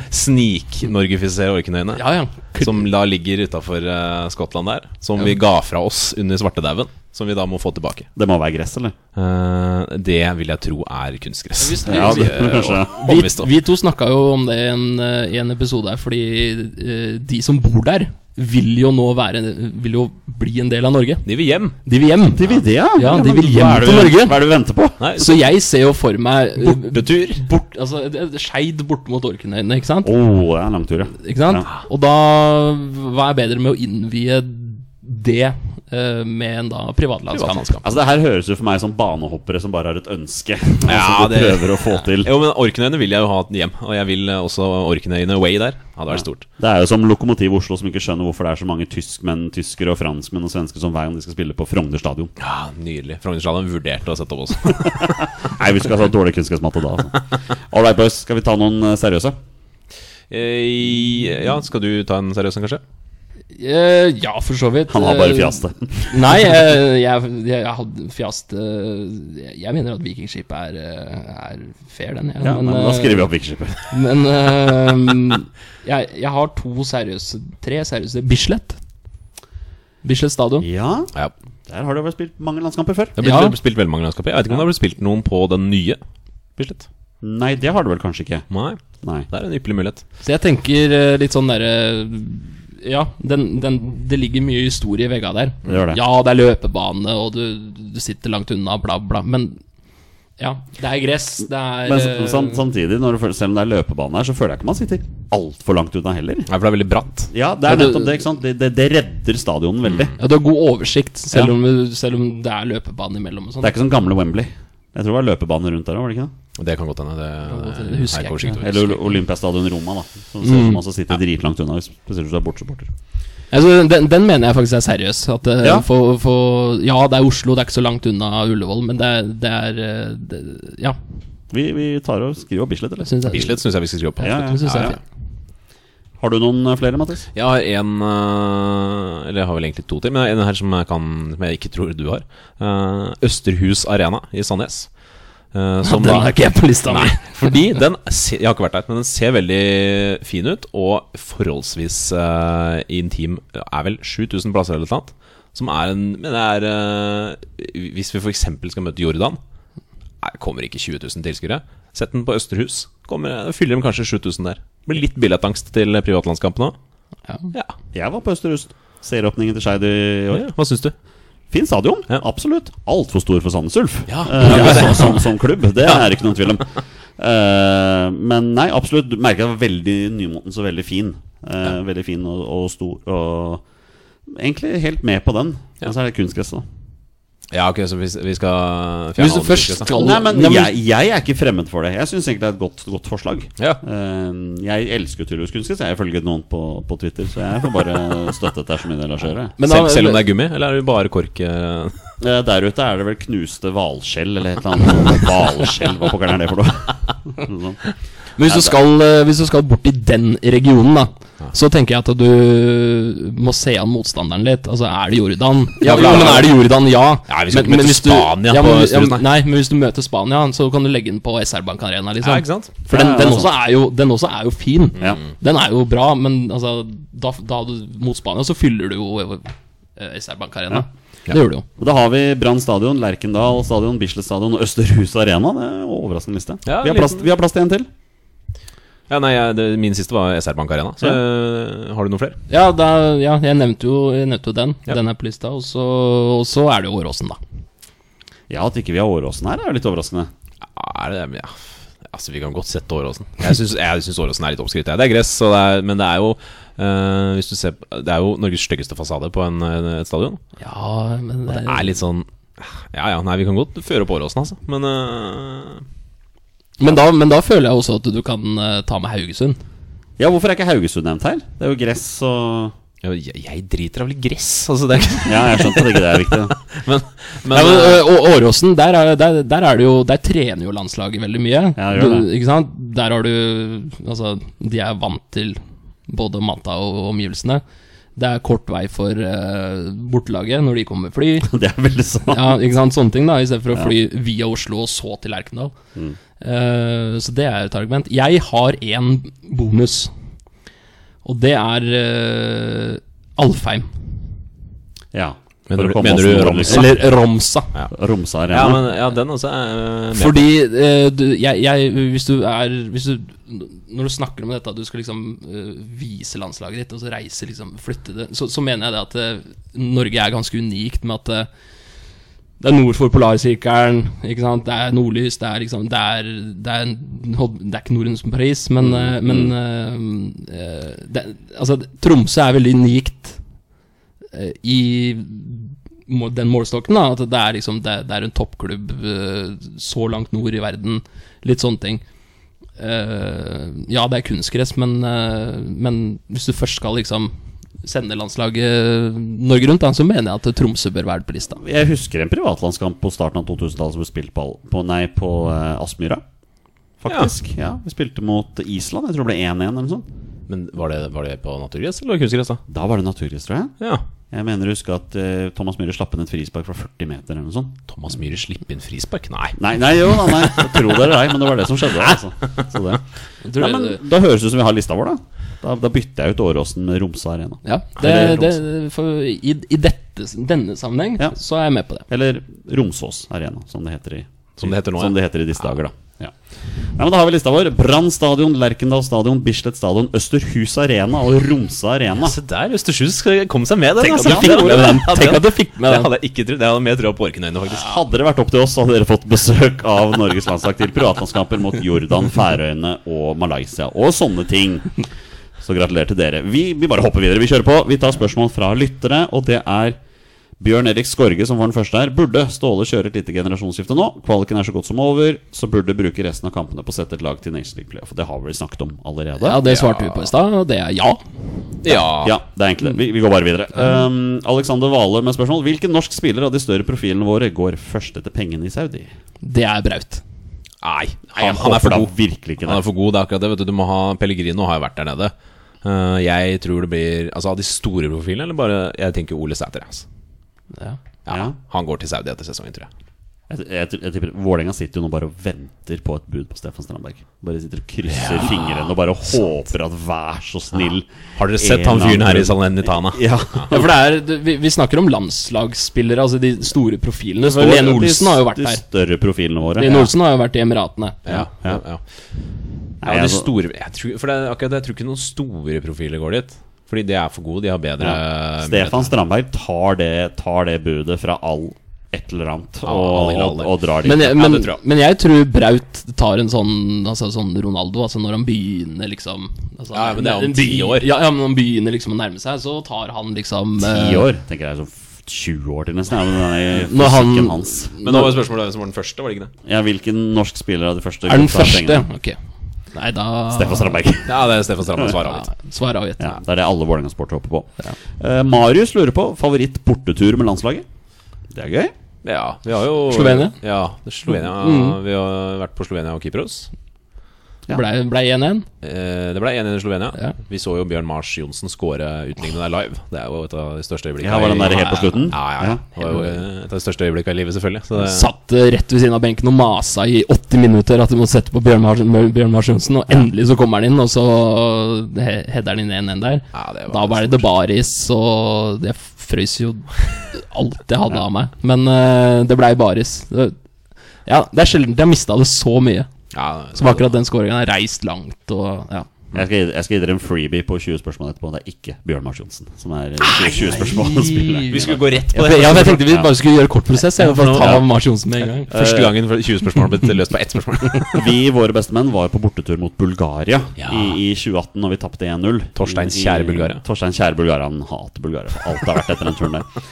Speaker 1: snik-norgifisere Orkenøyene.
Speaker 2: ja, ja.
Speaker 1: Som da ligger utafor eh, Skottland der. Som vi ga fra oss under svartedauden. Som vi da må få tilbake.
Speaker 3: Det må være gress, eller?
Speaker 1: Eh, det vil jeg tro er kunstgress.
Speaker 2: Hvis du-
Speaker 3: Ja, det
Speaker 1: Eh,
Speaker 3: kanskje.
Speaker 1: og-
Speaker 2: Vi,
Speaker 1: overbevist om.
Speaker 2: vi to snakka jo om det i en, eh, i en episode her, fordi eh, de som bor der, vil jo nå være Vil jo bli en del av Norge.
Speaker 1: De vil hjem.
Speaker 2: De vil hjem.
Speaker 3: De vil det, ja?
Speaker 2: Ja, de vil
Speaker 3: Hva
Speaker 2: hjem
Speaker 3: er det
Speaker 2: til
Speaker 3: du-
Speaker 2: Norge.
Speaker 3: Hva er det du venter på?
Speaker 1: Nei,
Speaker 2: Så jeg ser jo for meg eh,
Speaker 1: bortetur.
Speaker 2: Bort, altså, det- det- Skeid bort mot Orknøyene, ikke
Speaker 3: Å,
Speaker 2: sant?
Speaker 3: det er en lang tur, ja.
Speaker 2: Ikke sant?
Speaker 3: Ja.
Speaker 2: Og da Hva er bedre med å innvie det eh, med en da privatlandskamp?
Speaker 3: Altså Det her høres jo for meg som banehoppere som bare har et ønske.
Speaker 1: Ja,
Speaker 3: som de
Speaker 1: det-
Speaker 3: prøver å få til
Speaker 1: Jo, men Orknøyene vil jeg jo ha hjem. Og jeg vil eh, også Orknøyene away der. Ja, det hadde vært stort.
Speaker 3: Det er jo som Lokomotiv Oslo, som ikke skjønner hvorfor det er så mange tyskmenn, tyskere og franskmenn og svensker som hver gang de skal spille på Frogner stadion.
Speaker 1: Ja, Nydelig. Frognerstadion vurderte å sette opp også.
Speaker 3: Nei, vi skal ha dårlig kunnskapsmatte da, altså. All right, boys. Skal vi ta noen eh, seriøse?
Speaker 1: Eh, ja, skal du ta en seriøs en, kanskje?
Speaker 2: Eh, ja, for så vidt.
Speaker 3: Han har bare
Speaker 2: Eh,
Speaker 3: fjaste.
Speaker 2: Nei, eh, jeg, jeg, jeg hadde fjast eh, Jeg jeg mener at Vikingskip er, eh, er fair, den. jeg,
Speaker 3: Ja, men, da
Speaker 2: eh,
Speaker 3: skriver vi opp Vikingskipet.
Speaker 2: Men eh, jeg, jeg har to seriøse Tre seriøse Bislett. Bislett stadion.
Speaker 3: Ja,
Speaker 1: Ja.
Speaker 3: der har det vel spilt mange landskamper før.
Speaker 1: Det har blitt
Speaker 2: Ja.
Speaker 1: vel spilt veldig mange landskamper. Jeg vet ikke om det har blitt spilt noen på den nye. Bislett.
Speaker 3: Nei, det har det vel kanskje ikke.
Speaker 1: Nei,
Speaker 3: Nei.
Speaker 1: det er en ypperlig mulighet.
Speaker 2: Så jeg tenker eh, litt sånn derre Ja, den, den, det ligger mye historie i vegga der.
Speaker 3: Det gjør det.
Speaker 2: Ja, det er løpebane, og du, du sitter langt unna, bla, bla. Men ja, det er gress, det er
Speaker 3: Men sånn-
Speaker 2: eh,
Speaker 3: sam- sam- samtidig, når du, føler- selv om det er løpebane her, så føler jeg ikke man sitter altfor langt unna heller.
Speaker 1: Nei, for det er veldig bratt.
Speaker 3: Ja, det er nettopp det, ikke sant? Det, det, det redder stadionen veldig.
Speaker 2: ja, Du har god oversikt, selv,
Speaker 3: Ja.
Speaker 2: om, selv om det er løpebane imellom. og sånn.
Speaker 3: Det er
Speaker 2: sånt.
Speaker 3: ikke som gamle Wembley. Jeg tror det var løpebane rundt der òg, var det ikke det?
Speaker 1: Det kan godt hende. Det,
Speaker 2: godt hende. Det
Speaker 1: det er
Speaker 2: husker jeg
Speaker 1: ikke oversikt
Speaker 2: ikke. Mm.
Speaker 1: over.
Speaker 3: Eller Olympiastadion Roma, da. Som ser ut som også sitter dritlangt unna, hvis- spesielt hvis du er bortsupporter.
Speaker 2: Altså, den, den mener jeg faktisk er seriøs. At, eh,
Speaker 3: Ja.
Speaker 2: For, for, ja, det er Oslo, det er ikke så langt unna Ullevål, men det, er- det er eh, det, Ja.
Speaker 3: Vi, vi tar og skriver opp Bislett, eller?
Speaker 2: Synes jeg,
Speaker 1: Bislett syns jeg vi skal skrive opp.
Speaker 3: Ja, ja.
Speaker 2: Det synes jeg
Speaker 1: Ja, ja.
Speaker 2: er fint.
Speaker 3: Har du noen eh, flere, Mattis?
Speaker 1: Jeg har en eh, Eller jeg har vel egentlig to til, men en her som jeg, kan, som jeg ikke tror du har. Eh, Østerhus Arena i Sandnes. Eh, som
Speaker 2: Den
Speaker 1: da-
Speaker 2: har ikke jeg på lista mi.
Speaker 1: Fordi den se, Jeg har ikke vært der, men den ser veldig fin ut, og forholdsvis eh, intim. Er vel 7000 plasser eller noe sånt. Som er en Men det er eh, Hvis vi f.eks. skal møte Jordan, Nei, kommer ikke 20 000 tilskuere. Sett den på Østerhus. Kommer, da fyller de kanskje 7000 der. Blir litt billettangst til privatlandskampen òg. Ja.
Speaker 3: Jeg var på Østerhust. Serieåpningen til Skeid i år.
Speaker 1: ja. Hva syns du?
Speaker 3: Fin stadion,
Speaker 1: Ja.
Speaker 3: absolutt. Altfor stor for Sandnes Ulf.
Speaker 1: Ja.
Speaker 3: Eh, som, som, som klubb, det er det ikke noen tvil om. Eh, men nei, absolutt. Du merker at den var veldig nymotens og veldig fin. Eh, Veldig fin og, og stor. Og egentlig helt med på den. Men så er det kunstgresset, da.
Speaker 1: Ja, ok, så vi, vi skal
Speaker 2: Hvis du
Speaker 1: alle
Speaker 2: først
Speaker 1: tilskuere.
Speaker 2: skal
Speaker 3: Nei, men
Speaker 2: Nei, men-
Speaker 3: jeg, jeg er ikke fremmed for det. Jeg syns egentlig det er et godt, godt forslag.
Speaker 1: Ja.
Speaker 3: Eh, jeg elsker jo tydeligvis kunstgress. Jeg følger noen på, på Twitter, så jeg får bare støtte dette som min del av skjøret.
Speaker 2: Men
Speaker 1: selv,
Speaker 2: da- Sånn.
Speaker 1: selv om det er gummi, eller er det bare kork? eh?
Speaker 3: Eh, Der ute er det vel knuste hvalskjell eller et eller annet. Hvalskjell, hva pokker er det for noe? Noe sånt.
Speaker 2: Men hvis du, skal, eh, hvis du skal bort i den regionen, da så tenker jeg at du må se an motstanderen litt. Altså, er det Jordan? Ja,
Speaker 1: for da-
Speaker 2: men er det Jordan? Ja.
Speaker 1: Ja, vi skal ikke møte
Speaker 2: hvis
Speaker 1: Spania
Speaker 2: ja,
Speaker 1: på
Speaker 2: men, ja,
Speaker 1: Østerhus,
Speaker 2: men- Nei, men hvis du møter Spania, så kan du legge den på SR Bank Arena, liksom.
Speaker 1: Ja, ikke sant?
Speaker 2: For
Speaker 3: Ja,
Speaker 2: den,
Speaker 3: det er
Speaker 2: den, også er jo, den også er jo fin.
Speaker 3: Ja.
Speaker 2: Den er jo bra, men altså, da, da du, mot Spania så fyller du jo eh, SR Bank Arena. Det gjør du jo.
Speaker 3: Og Da har vi Brann stadion, Lerkendal stadion, Bislett stadion og Østerhus arena. Det er en overraskende liste.
Speaker 1: Ja,
Speaker 3: vi, har plass,
Speaker 1: liten.
Speaker 3: vi har plass til en til.
Speaker 1: Ja, nei, jeg, det, Min siste var SR Bank Arena. Så
Speaker 3: Ja.
Speaker 1: eh, Har du noen flere?
Speaker 2: Ja, da, ja jeg, nevnte jo, jeg nevnte jo den.
Speaker 1: Ja.
Speaker 2: Den er på lista. Og så, og så er det jo Åråsen, da.
Speaker 3: Ja, At ikke vi har Åråsen her, er jo litt overraskende.
Speaker 1: Ja, er det, ja. Altså, Vi kan godt sette Åråsen. Jeg syns- Jeg syns Åråsen er litt oppskrytt. jeg. Det er gress, og det er, men det er jo eh, hvis du ser, på- Det er jo Norges styggeste fasade på en, eh, et stadion.
Speaker 2: Ja, men
Speaker 1: Det
Speaker 2: det
Speaker 1: er litt sånn Ja ja, nei, vi kan godt føre opp Åråsen, altså. Men eh,
Speaker 2: Men da, men da føler jeg også at du kan eh, ta med Haugesund.
Speaker 3: Ja, hvorfor er ikke Haugesund nevnt her? Det er jo gress og
Speaker 1: Jeg, jeg driter av litt gress, altså. Det er ikke
Speaker 3: Ja, jeg skjønte at ikke det er viktig. da.
Speaker 1: Men, men,
Speaker 2: Ja, men,
Speaker 1: eh,
Speaker 2: ø, og Åråsen, der, er, der, der er det jo Der trener jo landslaget veldig mye.
Speaker 3: Ja, det gjør
Speaker 2: Du-
Speaker 3: det.
Speaker 2: Ikke sant? Der har du Altså, de er vant til både matta og omgivelsene. Det er kort vei for eh, bortelaget når de kommer med fly.
Speaker 3: Det er veldig sant.
Speaker 2: Ja, ikke sant, Sånne ting, da, istedenfor å fly via Oslo og så til Lerkendal.
Speaker 3: Mm.
Speaker 2: Eh, så det er et argument. Jeg har én bonus, og det er eh, Alfheim.
Speaker 3: Ja.
Speaker 1: Men
Speaker 3: For
Speaker 1: du-
Speaker 3: å komme
Speaker 1: mener
Speaker 3: oss
Speaker 1: du
Speaker 3: nordover.
Speaker 1: Romsa?
Speaker 2: Eller Romsa.
Speaker 3: Romsa
Speaker 1: ja,
Speaker 3: arena?
Speaker 1: men ja, den også er med.
Speaker 2: Fordi eh, du, jeg, jeg, hvis du er hvis du, Når du snakker om dette, at du skal liksom eh, vise landslaget ditt, og så reise, liksom, flytte det, så, så mener jeg det at eh, Norge er ganske unikt med at eh, det er nord for polarsirkelen, ikke sant? det er nordlys, det er liksom Det er, det er, det er ikke Norden som Paris, men, eh, men eh, eh, det, Altså, Tromsø er veldig unikt eh, i må- den målstokken. da At det er liksom Det, det er en toppklubb eh, så langt nord i verden. Litt sånne ting. Eh, ja, det er kunstgress, men, eh, men hvis du først skal liksom sende landslaget eh, Norge rundt, da, så mener jeg at Tromsø bør være på lista.
Speaker 3: Jeg husker en privatlandskamp på starten av 2000-tallet som ble spilt på, Al- på, nei, på eh, Aspmyra. Faktisk. Ja. Vi spilte mot Island. Jeg tror det ble 1-1 eller noe sånt.
Speaker 1: Men var det, var det på naturgress eller kunstgress, da?
Speaker 3: Da var det naturgress, tror jeg.
Speaker 1: Ja.
Speaker 3: Jeg mener å huske at eh, Thomas Myhre slapp inn et frispark fra 40 meter eller noe sånt.
Speaker 1: Thomas Myhre slipper inn frispark? Nei.
Speaker 3: Nei, nei, jo, da, nei. Jeg tror det eller ei, men det var det som skjedde. Altså. Så det.
Speaker 2: tror
Speaker 3: Nei,
Speaker 2: det-
Speaker 3: men, da høres det ut som vi har lista vår, da. Da, da bytter jeg ut Åråsen med Romsa arena.
Speaker 2: Ja,
Speaker 3: Eller
Speaker 2: det,
Speaker 3: Tromsø.
Speaker 2: det, for i, i dette, denne sammenheng
Speaker 3: Ja.
Speaker 2: så er jeg med på det.
Speaker 3: Eller Romsås arena, som det heter i
Speaker 1: Som det heter nå,
Speaker 3: som
Speaker 1: ja.
Speaker 3: det heter i disse dager, da. Ja. Nei, men Da har vi lista vår. Brann stadion, Lerkendal stadion, Bislett stadion, Østerhus arena og Romsa arena.
Speaker 1: Se der, Østersund skal komme seg med den.
Speaker 3: Ah. Tenk at
Speaker 1: altså.
Speaker 3: du fikk med den.
Speaker 1: Ja,
Speaker 2: Tenk at du fikk med
Speaker 1: Det
Speaker 2: den.
Speaker 1: hadde jeg ikke trodd. Jeg hadde mer troa på Orkenøyene, faktisk.
Speaker 3: Hadde det vært opp til oss, hadde dere fått besøk av Norges landslag til privatlandskamper mot Jordan, Færøyene og Malaysia og sånne ting. Så gratulerer til dere. Vi, vi bare hopper videre. Vi kjører på. Vi tar spørsmål fra lyttere, og det er Bjørn Erik Skorge, som var den første her, burde Ståle kjøre et lite generasjonsskifte nå. Kvaliken er så godt som over, så burde bruke resten av kampene på å sette et lag til Nation League Playoff. Det har vi vel snakket om allerede.
Speaker 2: Ja, Det svarte vi på i stad, og det er ja.
Speaker 1: Ja.
Speaker 3: Ja, det er egentlig det. Vi, vi går bare videre. Um, Alexander Vale med spørsmål. Hvilken norsk spiller av de større profilene våre går først etter pengene i Saudi?
Speaker 2: Det er Braut.
Speaker 1: Nei,
Speaker 3: Jeg
Speaker 1: han, han er
Speaker 3: håper
Speaker 1: for
Speaker 3: da
Speaker 1: god.
Speaker 3: virkelig ikke det.
Speaker 1: Han er for god, det er akkurat det. Vet du, du må ha Pellegrino har jo vært der nede. Eh, jeg tror det blir Altså Av de store profilene, eller bare Jeg tenker Ole Sæter. Altså.
Speaker 2: Ja.
Speaker 1: Ja,
Speaker 3: Ja.
Speaker 1: Han går til Saudi etter sesongen, tror jeg.
Speaker 3: Jeg, jeg, jeg tipper Vålerenga sitter jo nå bare og venter på et bud på Stefan Strandberg. Bare sitter og krysser fingrene og bare håper at vær så snill
Speaker 1: Har dere sett
Speaker 3: en
Speaker 1: han
Speaker 3: eller
Speaker 1: fyren
Speaker 3: annen-
Speaker 1: her i Salernitana?
Speaker 3: Ja.
Speaker 2: Ja, for det er, det- vi, vi snakker om landslagsspillere, altså de store profilene. Så Lene Olsen har jo vært
Speaker 3: De
Speaker 2: der.
Speaker 3: større profilene våre.
Speaker 2: Lene Olsen har jo vært i Emiratene.
Speaker 1: Ja, ja, ja.
Speaker 3: Nei,
Speaker 1: ja de
Speaker 3: altså-
Speaker 1: store jeg tror, For det er akkurat det, jeg tror ikke noen store profiler går dit. Fordi de er for gode, de har bedre
Speaker 3: Ja. Stefan Strandberg tar det, tar det budet fra all et eller annet og,
Speaker 1: all i alle.
Speaker 3: og, og drar dit.
Speaker 2: Men, jeg- men,
Speaker 1: det tror jeg.
Speaker 2: men jeg tror Braut tar en sånn, altså, sånn Ronaldo, altså når han begynner liksom altså,
Speaker 1: Ja, men det er om
Speaker 2: han
Speaker 1: ti år.
Speaker 2: Ja, ja, men han begynner liksom å nærme seg, så tar han liksom eh,
Speaker 3: Ti år, tenker jeg. Så f- 20 år til nesten. Ja, men den
Speaker 2: Når
Speaker 3: er
Speaker 2: han-
Speaker 3: fysikken hans.
Speaker 1: Men nå var spørsmålet hvem som var den første, var det ikke det?
Speaker 3: Ja, hvilken norsk spiller av de første
Speaker 2: Er den
Speaker 3: gutta
Speaker 2: første?
Speaker 3: pengene?
Speaker 2: Ok. Nei, da
Speaker 3: Stefan Strandberg.
Speaker 1: Ja, det er Stefan Strandberg svarer
Speaker 2: Ja,
Speaker 1: litt.
Speaker 2: Svar avgitt.
Speaker 3: Ja, det er det alle Vålerenga-sportere håper på. Eh, Marius lurer på favoritt bortetur med landslaget. Det er gøy.
Speaker 1: Ja, vi har jo
Speaker 2: Slovenia?
Speaker 1: Ja, det er Slovenia
Speaker 3: Mm.
Speaker 1: Vi har vært på Slovenia og Kypros.
Speaker 3: Ja.
Speaker 2: Blei ble 1-1.
Speaker 1: Eh, Det ble 1-1 i Slovenia.
Speaker 2: Ja.
Speaker 1: Vi så jo Bjørn Mars Johnsen skåre utlignende der live. Det er jo et av de største øyeblikkene.
Speaker 3: Ja, var den
Speaker 1: i-
Speaker 3: der helt på slutten?
Speaker 1: Ja, ja, ja. Det var jo eh, et av de største øyeblikkene i livet, selvfølgelig. Så det,
Speaker 2: Satt eh, rett ved siden av benken og masa i 80 minutter at de måtte sette på Bjørn Mars- Bjørn Mars Johnsen, og endelig så kommer han inn, og så eh, he- header han inn 1-1 der.
Speaker 1: Ja, det var
Speaker 2: da var det baris, og jeg frøys jo alt jeg hadde av meg. Men eh, det blei baris. Det- Ja, det er sjelden jeg har mista det så mye.
Speaker 1: ja,
Speaker 2: Som akkurat den skåringen har reist langt og ja.
Speaker 3: Jeg skal, gi- jeg skal gi dere en freebie på 20 spørsmål etterpå. Det er ikke Bjørn Mars Johnsen som er 20, 20 spørsmål.
Speaker 1: Vi skulle gå rett på
Speaker 2: Ja,
Speaker 1: det.
Speaker 2: jeg tenkte vi bare skulle gjøre kort prosess. Jeg bare ta Mars Johnsen med en gang.
Speaker 1: Første gangen for 20 spørsmål ble løst på ett spørsmål.
Speaker 3: Vi, våre bestemenn, var på bortetur mot Bulgaria
Speaker 1: Ja.
Speaker 3: i, i 2018, og vi tapte 1-0.
Speaker 1: Torsteins
Speaker 3: I-
Speaker 1: kjære Bulgaria.
Speaker 3: Torstein kjære Bulgaria. Han hater Bulgaria for alt det har vært etter den turen der.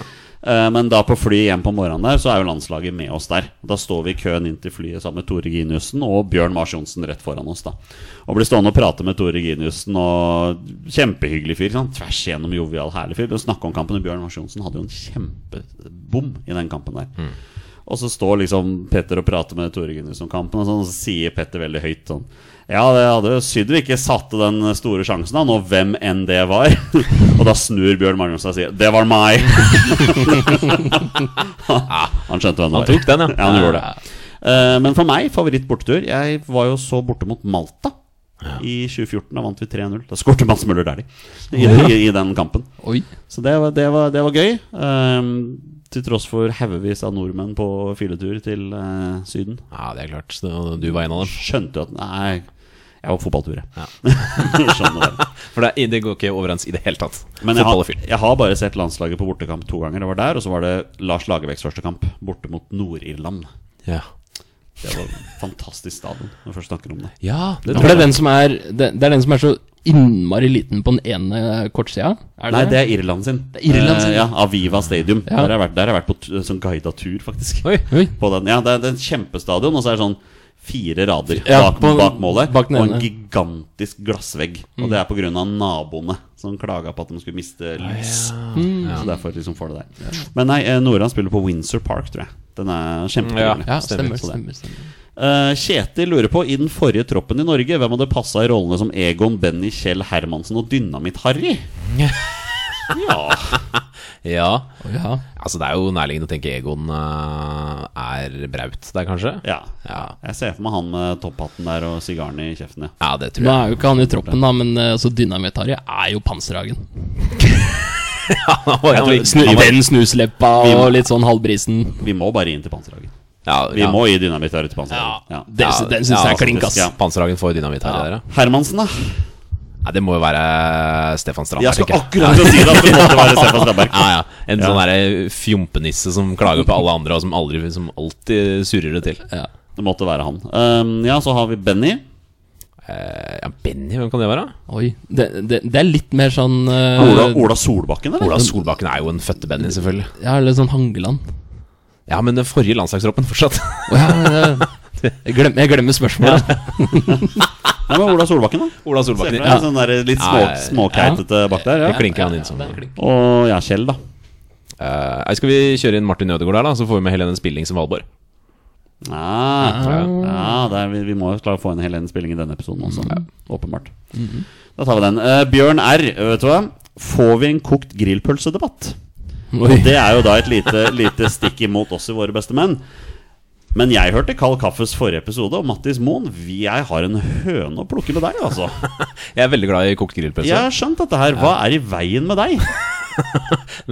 Speaker 3: Eh, Men da på flyet hjem på morgenen der, så er jo landslaget med oss der. Da står vi i køen inn til flyet sammen med Tore Giniussen og Bjørn Mars Johnsen rett foran oss. da Og blir stående og prate med Tore Giniussen, og kjempehyggelig fyr. Sånn, tvers igjennom jovial, herlig fyr. Og snakke om kampen. Og Bjørn Mars Johnsen hadde jo en kjempebom i den kampen der.
Speaker 1: Mm.
Speaker 3: Og så står liksom Petter og prater med Tore Gunnus om kampen, og, sånn, og så sier Petter veldig høyt sånn Ja, det hadde jo sydd vi ikke satte den store sjansen, da, nå hvem enn det var. og da snur Bjørn Magnus seg og sier 'Det var meg'. han skjønte hvem det var.
Speaker 1: Han tok den, ja.
Speaker 3: ja han gjorde det. Eh, Men for meg, favoritt bortetur Jeg var jo så borte mot Malta. I 2014 da vant vi 3-0. Da skårte Mats Møller Dæhlie i, i, i den kampen.
Speaker 2: Oi.
Speaker 3: Så det var, det var, det var gøy. ehm, til tross for haugevis av nordmenn på filetur til eh, Syden.
Speaker 1: Ja, det er klart. Så Du var en av dem.
Speaker 3: Skjønte jo at Nei, jeg var på fotballtur, jeg.
Speaker 1: Ja.
Speaker 3: Skjønner det.
Speaker 1: For det, er- det går ikke overens i det hele tatt.
Speaker 3: Men jeg
Speaker 1: Fotball
Speaker 3: har,
Speaker 1: og film.
Speaker 3: jeg har bare sett landslaget på bortekamp to ganger. Det var der, og så var det Lars Lagerbäcks første kamp, borte mot Nord-Irland.
Speaker 1: Ja.
Speaker 3: Det var et fantastisk stadion, når vi først snakker om det.
Speaker 1: ja, det
Speaker 2: For det er den som er Det, det er den som er så innmari liten på den ene kortsida? Er
Speaker 3: Nei, det er Irland sin. Det
Speaker 2: er Irland sin,
Speaker 3: ja, Aviva Stadium.
Speaker 2: Ja.
Speaker 3: Der har jeg vært, der har jeg vært på t sånn guida tur, faktisk.
Speaker 1: Oi.
Speaker 2: Oi.
Speaker 3: På den. Ja, det er, det er en kjempestadion, og så er det sånn fire rader
Speaker 2: Ja,
Speaker 3: bak,
Speaker 2: på-
Speaker 3: bak målet.
Speaker 2: bak Mm. den
Speaker 3: og en
Speaker 2: ene.
Speaker 3: gigantisk glassvegg. Og det er pga. naboene som klaga på at de skulle
Speaker 2: Ah,
Speaker 3: miste lys.
Speaker 2: Mm.
Speaker 3: Så derfor liksom får det der. Men nei, eh, Noran spiller på Windsor Park, tror jeg. Den er kjempetrivelig.
Speaker 2: Ja,
Speaker 1: Stemmer,
Speaker 2: stemmer.
Speaker 3: så det.
Speaker 2: stemmer, stemmer.
Speaker 3: Eh, Kjetil lurer på, i den forrige troppen i Norge, hvem hadde passa i rollene som Egon, Benny, Kjell, Hermansen og Dynamitt-Harry? ja
Speaker 1: Ja.
Speaker 2: Å, ja.
Speaker 1: Altså, det er jo nærliggende å tenke Egon eh, er Braut der, kanskje?
Speaker 3: Ja.
Speaker 1: Ja,
Speaker 3: Jeg ser for meg han med topphatten der og sigaren i kjeften. ja.
Speaker 1: ja det tror
Speaker 2: Nå
Speaker 1: jeg.
Speaker 2: er jo ikke han i troppen, da, men eh, altså, Dynamitt-Harry er jo Panserhagen.
Speaker 1: Han var- han var-
Speaker 2: Snu,
Speaker 1: han var-
Speaker 2: Venn snusleppa og litt sånn halvbrisen.
Speaker 3: Vi må bare inn til Panserhagen.
Speaker 1: Ja,
Speaker 3: Vi
Speaker 1: ja.
Speaker 3: må gi dynamitt her til Panserhagen. Ja.
Speaker 2: Den, sy- den syns
Speaker 1: ja,
Speaker 2: jeg er klink, ass.
Speaker 3: ja.
Speaker 1: Panserhagen får dynamitt her. Der, ja.
Speaker 3: Hermansen, da?
Speaker 1: Nei, det må jo være Stefan Strand.
Speaker 3: Jeg skal
Speaker 1: tenker
Speaker 3: akkurat til å si det! At det måtte være Stefan Strandberg.
Speaker 1: Ja, ja. En
Speaker 3: Ja.
Speaker 1: sånn derre fjompenisse som klager på alle andre, og som, aldri, som alltid surrer det til.
Speaker 2: Ja.
Speaker 3: Det måtte være han. Um, ja, så har vi Benny.
Speaker 1: Eh, ja, Benny, hvem kan det være?
Speaker 2: Oi. Det, det, det er litt mer sånn eh,
Speaker 3: Ola, Ola Solbakken, eller?
Speaker 1: Ola Solbakken er jo en fødte Benny, selvfølgelig.
Speaker 2: Ja, eller sånn Hangeland.
Speaker 1: Ja, men den forrige landslagstroppen fortsatt.
Speaker 2: Å ja, men, eh, jeg, glemmer, jeg glemmer spørsmålet.
Speaker 3: Nei, men Ola Solbakken, da.
Speaker 1: Ola
Speaker 3: Se for
Speaker 1: Solbakken.
Speaker 3: deg
Speaker 1: Ja.
Speaker 3: sånn der litt små,
Speaker 1: Ja, ja, ja.
Speaker 3: småkeitete bak der.
Speaker 1: Det
Speaker 3: Ja.
Speaker 1: klinker han inn som.
Speaker 3: Og ja, Kjell, da.
Speaker 1: Eh, skal vi kjøre inn Martin Ødegaard der, da? Så får vi med Helene Spilling som Valborg.
Speaker 3: Ah, Ja, ja der, Ah, vi, vi må jo klare å få inn hele den spillingen i denne episoden også. Åpenbart. Da tar vi den. Eh, Bjørn R, vet du hva? Får vi en kokt grillpølsedebatt?
Speaker 2: Oi.
Speaker 3: Og det er jo da et lite, lite stikk imot oss i Våre beste menn. Men jeg hørte Kald Kaffes forrige episode, og Mattis Moen, vi- jeg har en høne å plukke med deg, altså.
Speaker 1: Jeg er veldig glad i kokt grillpølse.
Speaker 3: Jeg har skjønt dette her. Hva er i veien med deg?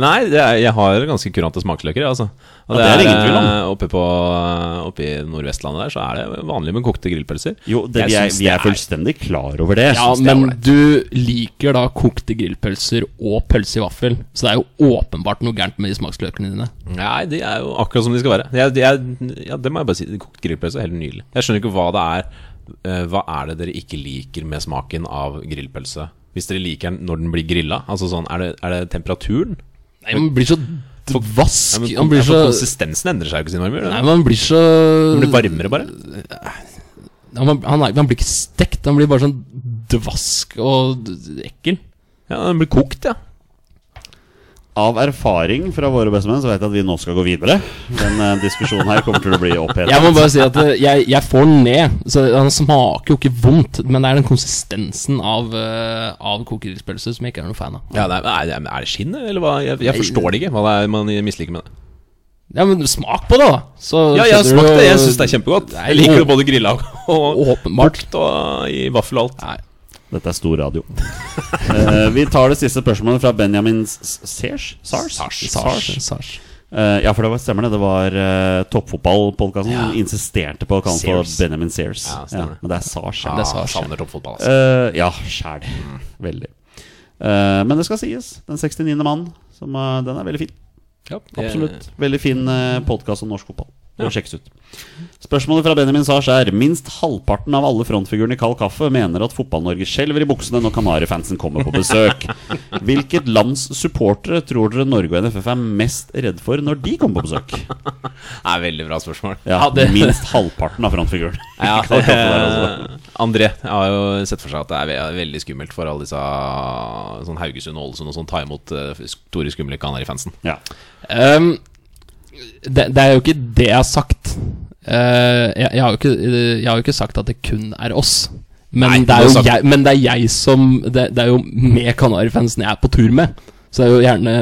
Speaker 1: Nei, det er, jeg har ganske kurante smaksløker, jeg, altså.
Speaker 3: Ja,
Speaker 1: Og
Speaker 3: det er det ingen tvil om.
Speaker 1: eh, Oppe, på, oppe i Nordvestlandet der så er det vanlig med kokte grillpølser.
Speaker 3: Jo, det,
Speaker 1: Jeg
Speaker 3: vi, er,
Speaker 1: syns
Speaker 3: vi er
Speaker 1: det
Speaker 3: fullstendig klar over det.
Speaker 2: Ja,
Speaker 1: synes det er
Speaker 2: men
Speaker 1: ålreit.
Speaker 2: du liker da kokte grillpølser og pølse i vaffel, så det er jo åpenbart noe gærent med de smaksløkene dine.
Speaker 1: Nei, de er jo akkurat som de skal være. Jeg, jeg, ja, det må jeg bare si. Kokt grillpølse er helt nydelig. Jeg skjønner ikke hva det er eh, Hva er det dere ikke liker med smaken av grillpølse? Hvis dere liker den når den blir grilla? Altså sånn, er det, er det temperaturen?
Speaker 2: Nei, man blir så d- vask. man blir
Speaker 1: ja, for
Speaker 2: så
Speaker 1: Konsistensen endrer seg jo ikke siden man gjør
Speaker 2: Nei,
Speaker 1: det.
Speaker 2: man blir så
Speaker 1: Den blir varmere, bare.
Speaker 2: Ja, man, han, er, man blir ikke stekt, han blir bare sånn dvask og d- ekkel.
Speaker 1: Ja, Den blir kokt, ja.
Speaker 3: Av erfaring fra våre bestemenn så vet jeg at vi nå skal gå videre. Den eh, diskusjonen her kommer til å bli opphetet.
Speaker 2: Jeg må bare si at eh, jeg, jeg får den ned, så han smaker jo ikke vondt, men det er den konsistensen av, eh, av kokerillspølse som jeg ikke er noen fan av.
Speaker 1: Ja, nei, er, det- er det skinnet, eller hva? Jeg, jeg forstår det ikke, hva det er man misliker med det.
Speaker 2: Ja, men smak på det, da! Så
Speaker 1: Ja, jeg har
Speaker 2: skjønner
Speaker 1: smakt
Speaker 2: du-
Speaker 1: det, jeg syns det er kjempegodt. Jeg liker det både grilla og
Speaker 2: Åpenbart.
Speaker 1: kokt og i vaffel og alt.
Speaker 2: Nei.
Speaker 3: Dette er stor radio. Eh, vi tar det siste spørsmålet fra Benjamin S- S- Sers? Sars?
Speaker 1: Sars.
Speaker 2: Sars. Sars.
Speaker 3: Eh, ja, for det var, stemmer det. Det var uh, toppfotballpodkasten som insisterte på å kalle det
Speaker 1: Sears.
Speaker 3: for Benjamin Sears.
Speaker 1: Ja,
Speaker 3: Ja,
Speaker 1: stemmer.
Speaker 3: men det er Sars.
Speaker 1: Ja,
Speaker 3: Ja,
Speaker 2: det sa jeg.
Speaker 1: savner toppfotball, altså.
Speaker 3: uh, ja sjæl. Veldig. Eh, men det skal sies. Den 69. mannen. Som, eh, den er veldig fin.
Speaker 1: Ja,
Speaker 3: Absolutt. Veldig fin uh, podkast eh, om norsk fotball. og sjekkes ut. Spørsmålet fra Benjamin Sars er Minst halvparten av alle frontfigurene i Kald Kaffe mener at Fotball-Norge skjelver i buksene når Kanarifansen kommer på besøk. Hvilket lands supportere tror dere Norge og NFF er mest redd for når de kommer på besøk?
Speaker 1: Det er veldig bra spørsmål.
Speaker 3: Ja,
Speaker 2: Ja, det-
Speaker 3: Minst halvparten av frontfigurene. i
Speaker 1: Ja,
Speaker 3: Kald Kaffe der, altså.
Speaker 1: eh, André jeg har jo sett for seg at det er ve- veldig skummelt for alle disse sånn Haugesund og Ålesund og sånn ta imot eh, store, skumle Kanarifansen.
Speaker 3: Ja.
Speaker 2: Ehm, det, det er jo ikke det jeg har sagt. Eh, jeg, jeg, har jo ikke, eh, jeg har jo ikke sagt at det kun er oss. Men,
Speaker 1: Nei,
Speaker 2: det,
Speaker 1: du
Speaker 2: er
Speaker 1: har
Speaker 2: jo
Speaker 1: sagt-
Speaker 2: jeg, men det er jeg som Det, det er jo med Kanarifansen jeg er på tur med. Så det er jo gjerne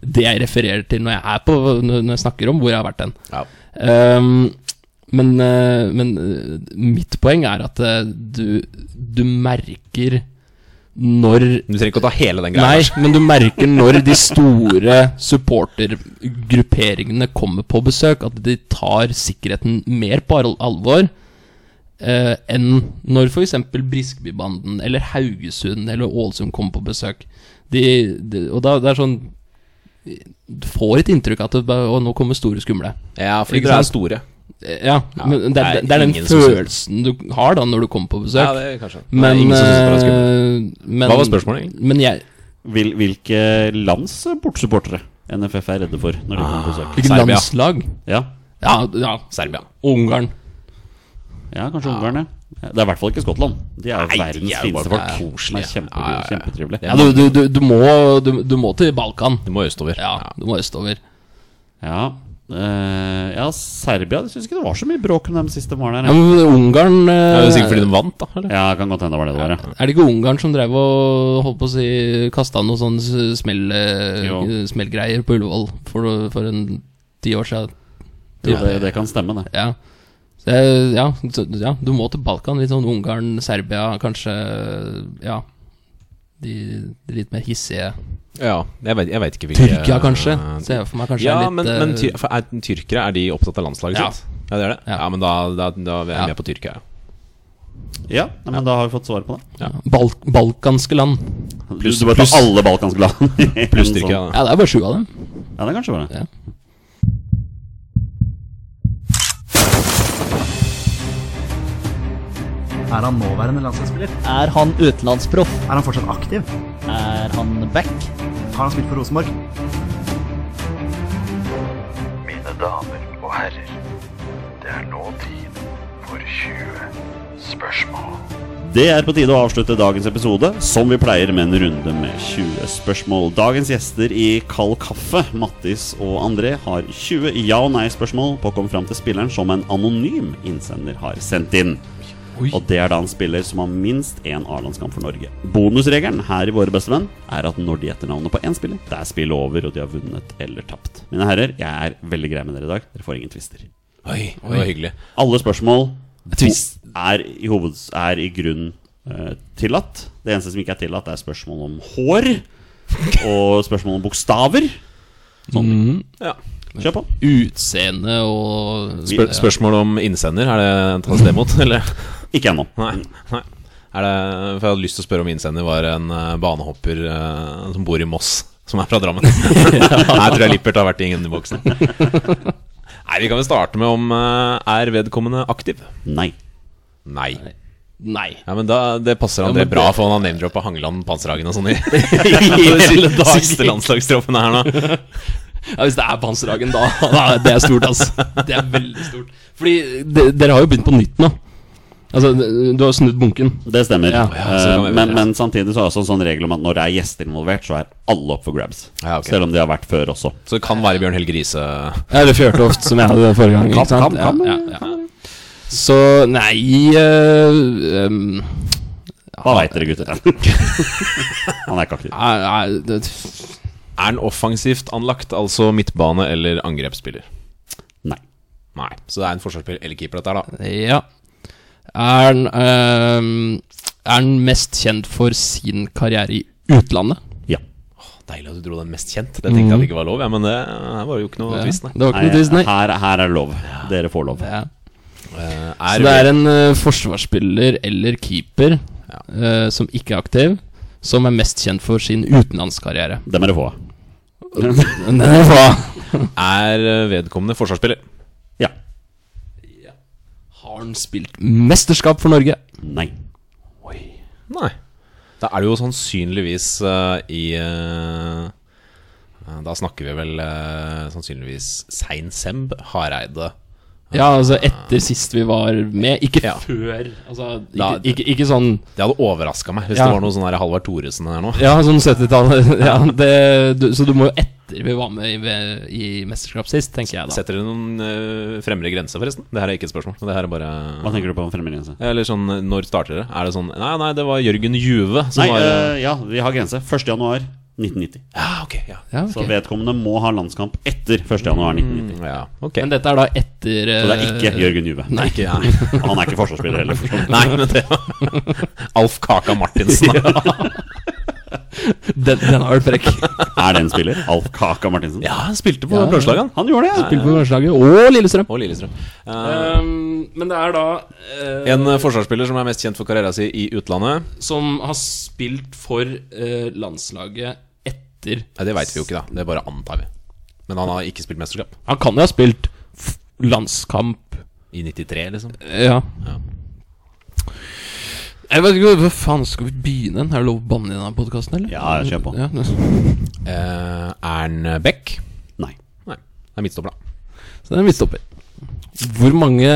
Speaker 2: det jeg refererer til når jeg, er på, når når jeg snakker om hvor jeg har vært hen.
Speaker 1: Ja.
Speaker 2: Ehm, men, eh, men eh, mitt poeng er at eh, du, du merker når
Speaker 1: Du trenger ikke å ta hele den greia.
Speaker 2: Nei, men du merker når de store supportergrupperingene kommer på besøk, at de tar sikkerheten mer på al- alvor eh, enn når f.eks. Briskebybanden eller Haugesund eller Ålesund kommer på besøk. De, de, og da det er sånn Du får et inntrykk av at det, bare- å, nå kommer store skumle.
Speaker 1: Ja, fordi
Speaker 2: Ikke
Speaker 1: dere er
Speaker 2: sant?
Speaker 1: store.
Speaker 2: Eh, Ja,
Speaker 1: Ja,
Speaker 2: men det,
Speaker 1: det er
Speaker 2: er- det er den
Speaker 1: ingen som
Speaker 2: følelsen du har da når du kommer på besøk.
Speaker 1: Ja, det er kanskje det er
Speaker 2: men,
Speaker 1: ingen som synes det er skummelt.
Speaker 2: eh, men
Speaker 1: Hva var spørsmålet egentlig?
Speaker 2: Men jeg
Speaker 3: Hvil, hvilke lands bortsupportere NFF er redde for når de kommer på besøk?
Speaker 2: Hvilket
Speaker 1: Serbia.
Speaker 2: landslag?
Speaker 3: Ja,
Speaker 2: Ja, ja,
Speaker 1: Serbia.
Speaker 2: Ungarn.
Speaker 3: ja kanskje Ungarn, ja. Det er i hvert fall ikke Skottland. De er jo
Speaker 1: Nei, de
Speaker 3: verdens
Speaker 1: er jo
Speaker 3: fineste
Speaker 1: bare
Speaker 3: folk. De
Speaker 1: koselige.
Speaker 3: er kjempe,
Speaker 1: Ja, ja, ja.
Speaker 3: Kjempetrivelige.
Speaker 2: Ja, du, du, du, du, må, du, du må til Balkan.
Speaker 1: Du må østover.
Speaker 2: Ja, du må østover.
Speaker 3: Ja, eh, ja Serbia Jeg syns ikke det var så mye bråk om dem sist de var der.
Speaker 2: Ja,
Speaker 3: Ja.
Speaker 2: men Ungarn eh,
Speaker 1: Ja, det er sikkert fordi de vant, da. Eller?
Speaker 3: Ja, kan godt hende det var det det var, ja.
Speaker 2: Er det ikke Ungarn som drev og holdt på å si kasta noe sånn s- smell, eh,
Speaker 3: Jo.
Speaker 2: smellgreier på Ullevål for, for en ti år siden?
Speaker 3: Jo, det, det kan stemme, det.
Speaker 2: Ja. Så, jeg- ja, så, ja, du må til Balkan. Litt sånn Ungarn, Serbia, kanskje Ja. De, de litt mer hissige
Speaker 1: Ja, jeg vet, jeg vet ikke hvilke
Speaker 2: Tyrkia, kanskje?
Speaker 1: eh,
Speaker 2: Ser jeg for meg kanskje
Speaker 1: ja,
Speaker 2: er litt
Speaker 1: men, men
Speaker 2: eh,
Speaker 1: ty for er tyrkere, er de opptatt av landslaget
Speaker 2: Ja.
Speaker 1: sitt? Ja, det er det?
Speaker 2: Ja.
Speaker 1: Ja, men da, da, da er jeg
Speaker 2: Ja.
Speaker 1: med på Tyrkia. ja.
Speaker 3: Ja, nei, men da har vi fått svar på det.
Speaker 2: Bal balkanske land.
Speaker 3: Du,
Speaker 1: Pluss-
Speaker 3: du bare
Speaker 1: pluss-
Speaker 3: tar alle balkanske land.
Speaker 1: Pluss Tyrkia. da.
Speaker 2: Ja, det er bare sju av dem.
Speaker 3: Ja, det er kanskje bare det.
Speaker 2: Ja.
Speaker 6: Er han nåværende landslagsspiller?
Speaker 7: Er han utenlandsproff?
Speaker 6: Er han fortsatt aktiv?
Speaker 7: Er han back?
Speaker 6: Har han spilt for Rosenborg?
Speaker 8: Mine damer og herrer, det er nå tid for 20 spørsmål.
Speaker 3: Det er på tide å avslutte dagens episode, som vi pleier med en runde med 20 spørsmål. Dagens gjester i Kald kaffe, Mattis og André, har 20 ja- og nei-spørsmål på å komme fram til spilleren som en anonym innsender har sendt inn. Og det er da en spiller som har minst én A-landskamp for Norge. Bonusregelen her i Våre bestevenn er at når de gjetter navnet på én spiller, det er spillet over, og de har vunnet eller tapt. Mine herrer, jeg er veldig grei med dere i dag. Dere får ingen twister.
Speaker 1: Oi, det var hyggelig.
Speaker 3: Alle spørsmål
Speaker 2: Twist.
Speaker 3: er i, hoved, er i grunn eh, tillatt. Det eneste som ikke er tillatt, er spørsmål om hår og spørsmål om bokstaver.
Speaker 1: Ja.
Speaker 3: Kjør på.
Speaker 2: Utseende og
Speaker 1: Spør spørsmål om innsender, er det tas det imot, eller?
Speaker 3: Ikke ennå.
Speaker 1: Nei. Nei. Er det, for jeg hadde lyst til å spørre om innsender var en eh, banehopper eh, som bor i Moss, som er fra Drammen. Her tror jeg Lippert har vært i innboksen. Nei, vi kan vel starte med om eh, er vedkommende aktiv?
Speaker 3: Nei.
Speaker 1: Nei.
Speaker 2: Nei.
Speaker 1: Ja, men da, Det passer
Speaker 2: Ja,
Speaker 1: André
Speaker 2: men det-
Speaker 1: bra, for han har name-droppa Hangeland, Panserhagen og sånn i
Speaker 2: hele
Speaker 1: de
Speaker 2: dagen.
Speaker 1: siste landslagstroppene her nå.
Speaker 2: Ja, hvis det er Panserhagen, da, da Det er stort, ass. Det er veldig stort. Fordi de, dere har jo begynt på nytt nå. Altså, de- du har snudd bunken.
Speaker 3: Det stemmer.
Speaker 2: Ja.
Speaker 1: Ja, så kan vi
Speaker 3: Eh, men,
Speaker 1: videre.
Speaker 3: men samtidig så er det også en sånn regel om at når det er gjester involvert, så er alle opp for grabs.
Speaker 1: Ja, ok.
Speaker 3: Selv om de har vært før også.
Speaker 1: Så det kan være Bjørn Helge Riise.
Speaker 2: Eller Fjørtoft, som jeg hadde forrige gang. Ikke sant?
Speaker 3: Kam, kam, kam.
Speaker 2: Ja, ja, ja. Så nei eh, um,
Speaker 3: Hva veit dere, gutter? Han er ikke aktiv.
Speaker 2: nei, nei, det-
Speaker 1: Er han offensivt anlagt, altså midtbane eller angrepsspiller?
Speaker 3: Nei.
Speaker 1: Nei. Så det er en forsvarsspiller eller keeper, dette her, da.
Speaker 2: Ja. Er han ehm, Er han mest kjent for sin karriere i utlandet?
Speaker 3: Ja.
Speaker 1: Deilig at du dro den mest kjent. Det tenkte jeg at det ikke var lov, ja, men det her var jo ikke noe twist, nei.
Speaker 2: Mm. Det var ikke
Speaker 3: Nei,
Speaker 2: noe twist, nei.
Speaker 3: her, her er det lov. Dere får lov.
Speaker 2: Ja.
Speaker 1: Eh,
Speaker 2: Så
Speaker 1: Er,
Speaker 2: det er en eh, forsvarsspiller eller keeper eh, som ikke er aktiv, som er mest kjent for sin utenlandskarriere.
Speaker 3: Dem er det få av.
Speaker 2: Nei, hva?
Speaker 1: er vedkommende forsvarsspiller?
Speaker 3: Ja.
Speaker 2: Har han spilt mesterskap for Norge?
Speaker 3: Nei.
Speaker 1: Nei. Da er det jo sannsynligvis eh, i eh, eh, Da snakker vi vel eh, sannsynligvis Sein Semb, Hareide.
Speaker 2: Ja, altså etter sist vi var med. Ikke
Speaker 1: Ja.
Speaker 2: før. Altså, ikke,
Speaker 1: Da-
Speaker 2: ikke, ikke sånn
Speaker 1: Det hadde overraska meg hvis
Speaker 2: Ja.
Speaker 1: det var noe sånn der Halvard Thoresen her nå.
Speaker 2: Ja, sånn 70-tallet. Ja, det- du- så du må jo etter vi var med i, i mesterskap sist, tenker jeg da.
Speaker 1: Setter dere noen eh, fremre grense, forresten? Det her er ikke et spørsmål. Det her er bare
Speaker 3: Hva tenker du på om fremmedgrense?
Speaker 1: Eller sånn, når starter det? Er det sånn Nei, nei, det var Jørgen Juve som
Speaker 3: Nei,
Speaker 1: var
Speaker 3: eh, ja, vi har grense. 1. januar 1990.
Speaker 1: Ja, ok, ja.
Speaker 2: Ja, ok.
Speaker 3: Så vedkommende må ha landskamp etter 1. januar 1990.
Speaker 1: Mm, ja, ok.
Speaker 2: Men dette er da etter
Speaker 3: Så det er ikke Jørgen Juve.
Speaker 2: Nei.
Speaker 1: Ikke, nei.
Speaker 3: Han er ikke forsvarsspiller heller. for så vidt.
Speaker 1: nei, men det Alf Kaka Martinsen. da.
Speaker 2: eh, Den, den har vært frekk.
Speaker 3: Er det en spiller? Alf Kaka Martinsen?
Speaker 1: Ja, han spilte på
Speaker 2: Ja.
Speaker 1: Blåslaget, han.
Speaker 3: Han gjorde det, ja!
Speaker 2: Spilt på landslaget og Lillestrøm.
Speaker 1: Og Lillestrøm. Eh,
Speaker 2: Ehm, men det er da eh,
Speaker 1: en eh, forsvarsspiller som er mest kjent for karriera si i utlandet.
Speaker 2: som har spilt for eh, landslaget etter
Speaker 1: Nei, eh, det veit vi jo ikke, da. Det bare antar vi. Men han har ikke spilt mesterskap.
Speaker 2: Han kan jo ha spilt f- landskamp
Speaker 1: I 93, liksom.
Speaker 2: Ja.
Speaker 1: Ja.
Speaker 2: Jeg vet ikke hvor faen skal vi begynne? Er det lov å banne i denne podkasten, eller?
Speaker 3: Ja, kjør på.
Speaker 2: Ja, det-
Speaker 1: Eh, Ern Beck.
Speaker 3: Nei.
Speaker 1: eh, Nei, det er midtstopper, da.
Speaker 2: Så det er en midtstopper. Hvor mange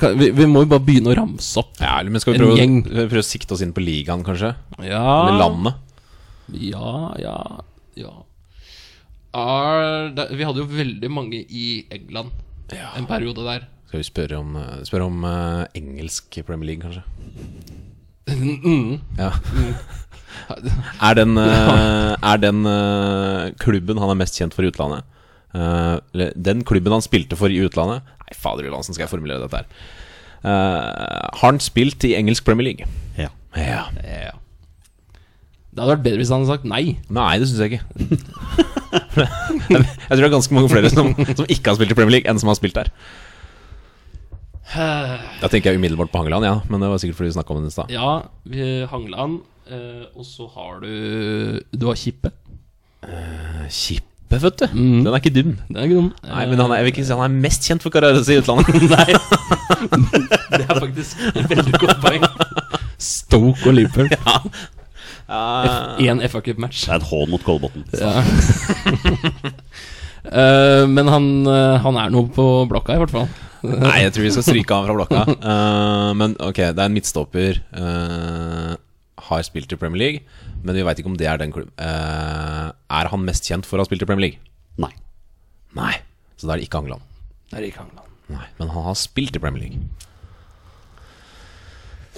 Speaker 2: kan, vi, vi må jo bare begynne å ramse opp.
Speaker 1: Ja, eller- men skal vi
Speaker 2: En
Speaker 1: prøve,
Speaker 2: gjeng.
Speaker 1: å- prøve å sikte oss inn på ligaen, kanskje? Eller
Speaker 2: Ja
Speaker 1: landet?
Speaker 2: Ja, ja, ja. Er det, vi hadde jo veldig mange i England en periode der.
Speaker 1: Skal vi spørre om, eh, spørre om eh, engelsk Premier League, kanskje? Ja. er den, eh, er den eh, klubben han er mest kjent for i utlandet eh, eller Den klubben han spilte for i utlandet Nei, fader Johansen, skal jeg formulere dette her. Eh, har han spilt i engelsk Premier League?
Speaker 3: Ja.
Speaker 1: Ja.
Speaker 2: Det hadde vært bedre hvis han hadde sagt nei.
Speaker 1: Nei, det syns jeg ikke. jeg tror det er ganske mange flere som, som ikke har spilt i Premier League, enn som har spilt der. Da tenker jeg umiddelbart på Hangeland, ja, men det var sikkert fordi vi snakka om den i stad.
Speaker 2: Ja, vi hangla han. eh, og så har du Du har Kippe.
Speaker 1: Kippe, vet du. Den er ikke dum.
Speaker 2: Det er ikke dum.
Speaker 1: Nei, men han er, jeg vil ikke si han er mest kjent for karrieren sin i utlandet. Nei,
Speaker 2: Det er faktisk et veldig godt poeng. Stoke og Liverpool. Én FA Cup-match.
Speaker 3: Det er et hån mot Kolbotn.
Speaker 2: Ja. Eh, men han, eh, han er noe på blokka, i hvert fall.
Speaker 1: Nei, jeg tror vi skal stryke han fra blokka. Eh, men ok, det er en midtstopper. eh, har spilt i Premier League, men vi veit ikke om det er den klubben. Eh, er han mest kjent for å ha spilt i Premier League?
Speaker 3: Nei.
Speaker 1: Nei. Så da er det ikke Hangeland.
Speaker 2: Det er ikke Hangland.
Speaker 1: Nei, men han har spilt i Premier League.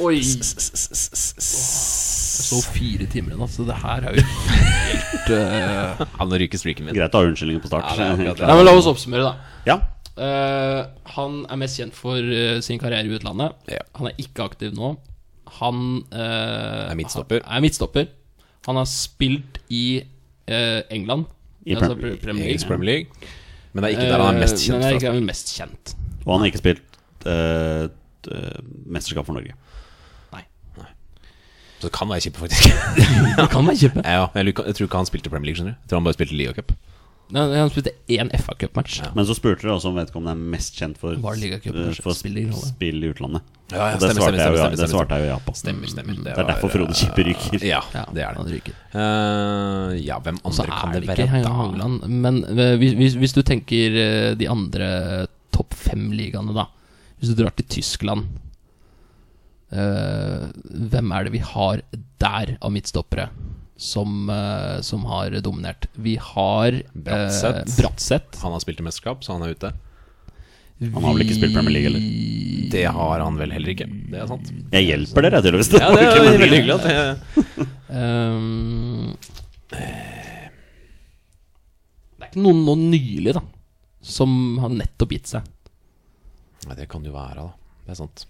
Speaker 2: Oi! Så fire timer igjen, altså. Det her er jo helt eh,
Speaker 1: Ja, nå ryker streaken min.
Speaker 3: Greit å ha unnskyldninger på start.
Speaker 1: Ja, det er akkurat det.
Speaker 2: Nei, men La oss oppsummere, da.
Speaker 3: Ja.
Speaker 2: Eh, han er mest kjent for eh, sin karriere i utlandet.
Speaker 1: Ja.
Speaker 2: Han er ikke aktiv nå. Han eh,
Speaker 1: Er midtstopper.
Speaker 2: Han, er midtstopper. han har spilt i eh, England.
Speaker 3: I
Speaker 2: altså
Speaker 3: Premier-
Speaker 2: Premier
Speaker 1: Engelsk
Speaker 2: League.
Speaker 1: Premier League. Men det er ikke der han er mest
Speaker 2: Eh,
Speaker 1: kjent
Speaker 2: men
Speaker 1: fra.
Speaker 2: det er ikke der han er mest kjent.
Speaker 3: Og han har ikke spilt eh, t- eh, mesterskap for Norge.
Speaker 1: Så det kan være kjipt, faktisk.
Speaker 2: Det kan være kjipe.
Speaker 1: ja, jeg, lukker- jeg tror ikke han spilte Premier League, skjønner du. Jeg tror han bare spilte Liga Cup.
Speaker 2: Nei, nei, han spilte én FA Cup-match.
Speaker 3: Men så spurte dere også om vedkommende er mest kjent for,
Speaker 2: Var det ligacupen
Speaker 3: eh,
Speaker 2: som
Speaker 3: for
Speaker 2: spiller i rolle?
Speaker 3: spill i utlandet.
Speaker 1: Ja, ja,
Speaker 3: Og det svarte
Speaker 1: stemmer, stemmer,
Speaker 3: jeg jo-
Speaker 1: stemmer,
Speaker 3: det
Speaker 1: stemmer,
Speaker 3: svarte jeg jo ja på.
Speaker 1: Stemmer, stemmer.
Speaker 3: Det er derfor Frode Kippe ryker.
Speaker 1: Mm. Ja, det er
Speaker 2: han
Speaker 1: det.
Speaker 2: ryker.
Speaker 1: Eh, ja, hvem
Speaker 2: Så
Speaker 1: andre kan
Speaker 2: er
Speaker 1: det
Speaker 2: det
Speaker 1: være?
Speaker 2: ikke Heine
Speaker 1: da?
Speaker 2: Hageland. Men eh, hvis, hvis, hvis du tenker eh, de andre topp fem-ligaene, da Hvis du drar til Tyskland eh, Hvem er det vi har der av midtstoppere som, eh, som har dominert? Vi har eh,
Speaker 1: Bratseth.
Speaker 2: Bratseth.
Speaker 1: Han har spilt i mesterskap, så han er ute.
Speaker 3: Han har vel ikke spilt Premier League, eller?
Speaker 1: Det har han vel heller ikke. Det er sant.
Speaker 3: Jeg hjelper dere, tydeligvis.
Speaker 1: Ja, det er veldig hyggelig at jeg
Speaker 2: Ehm, det er ikke noen nå nylig, da, som har nettopp gitt seg.
Speaker 1: Nei, det kan jo være, da. Det er sant.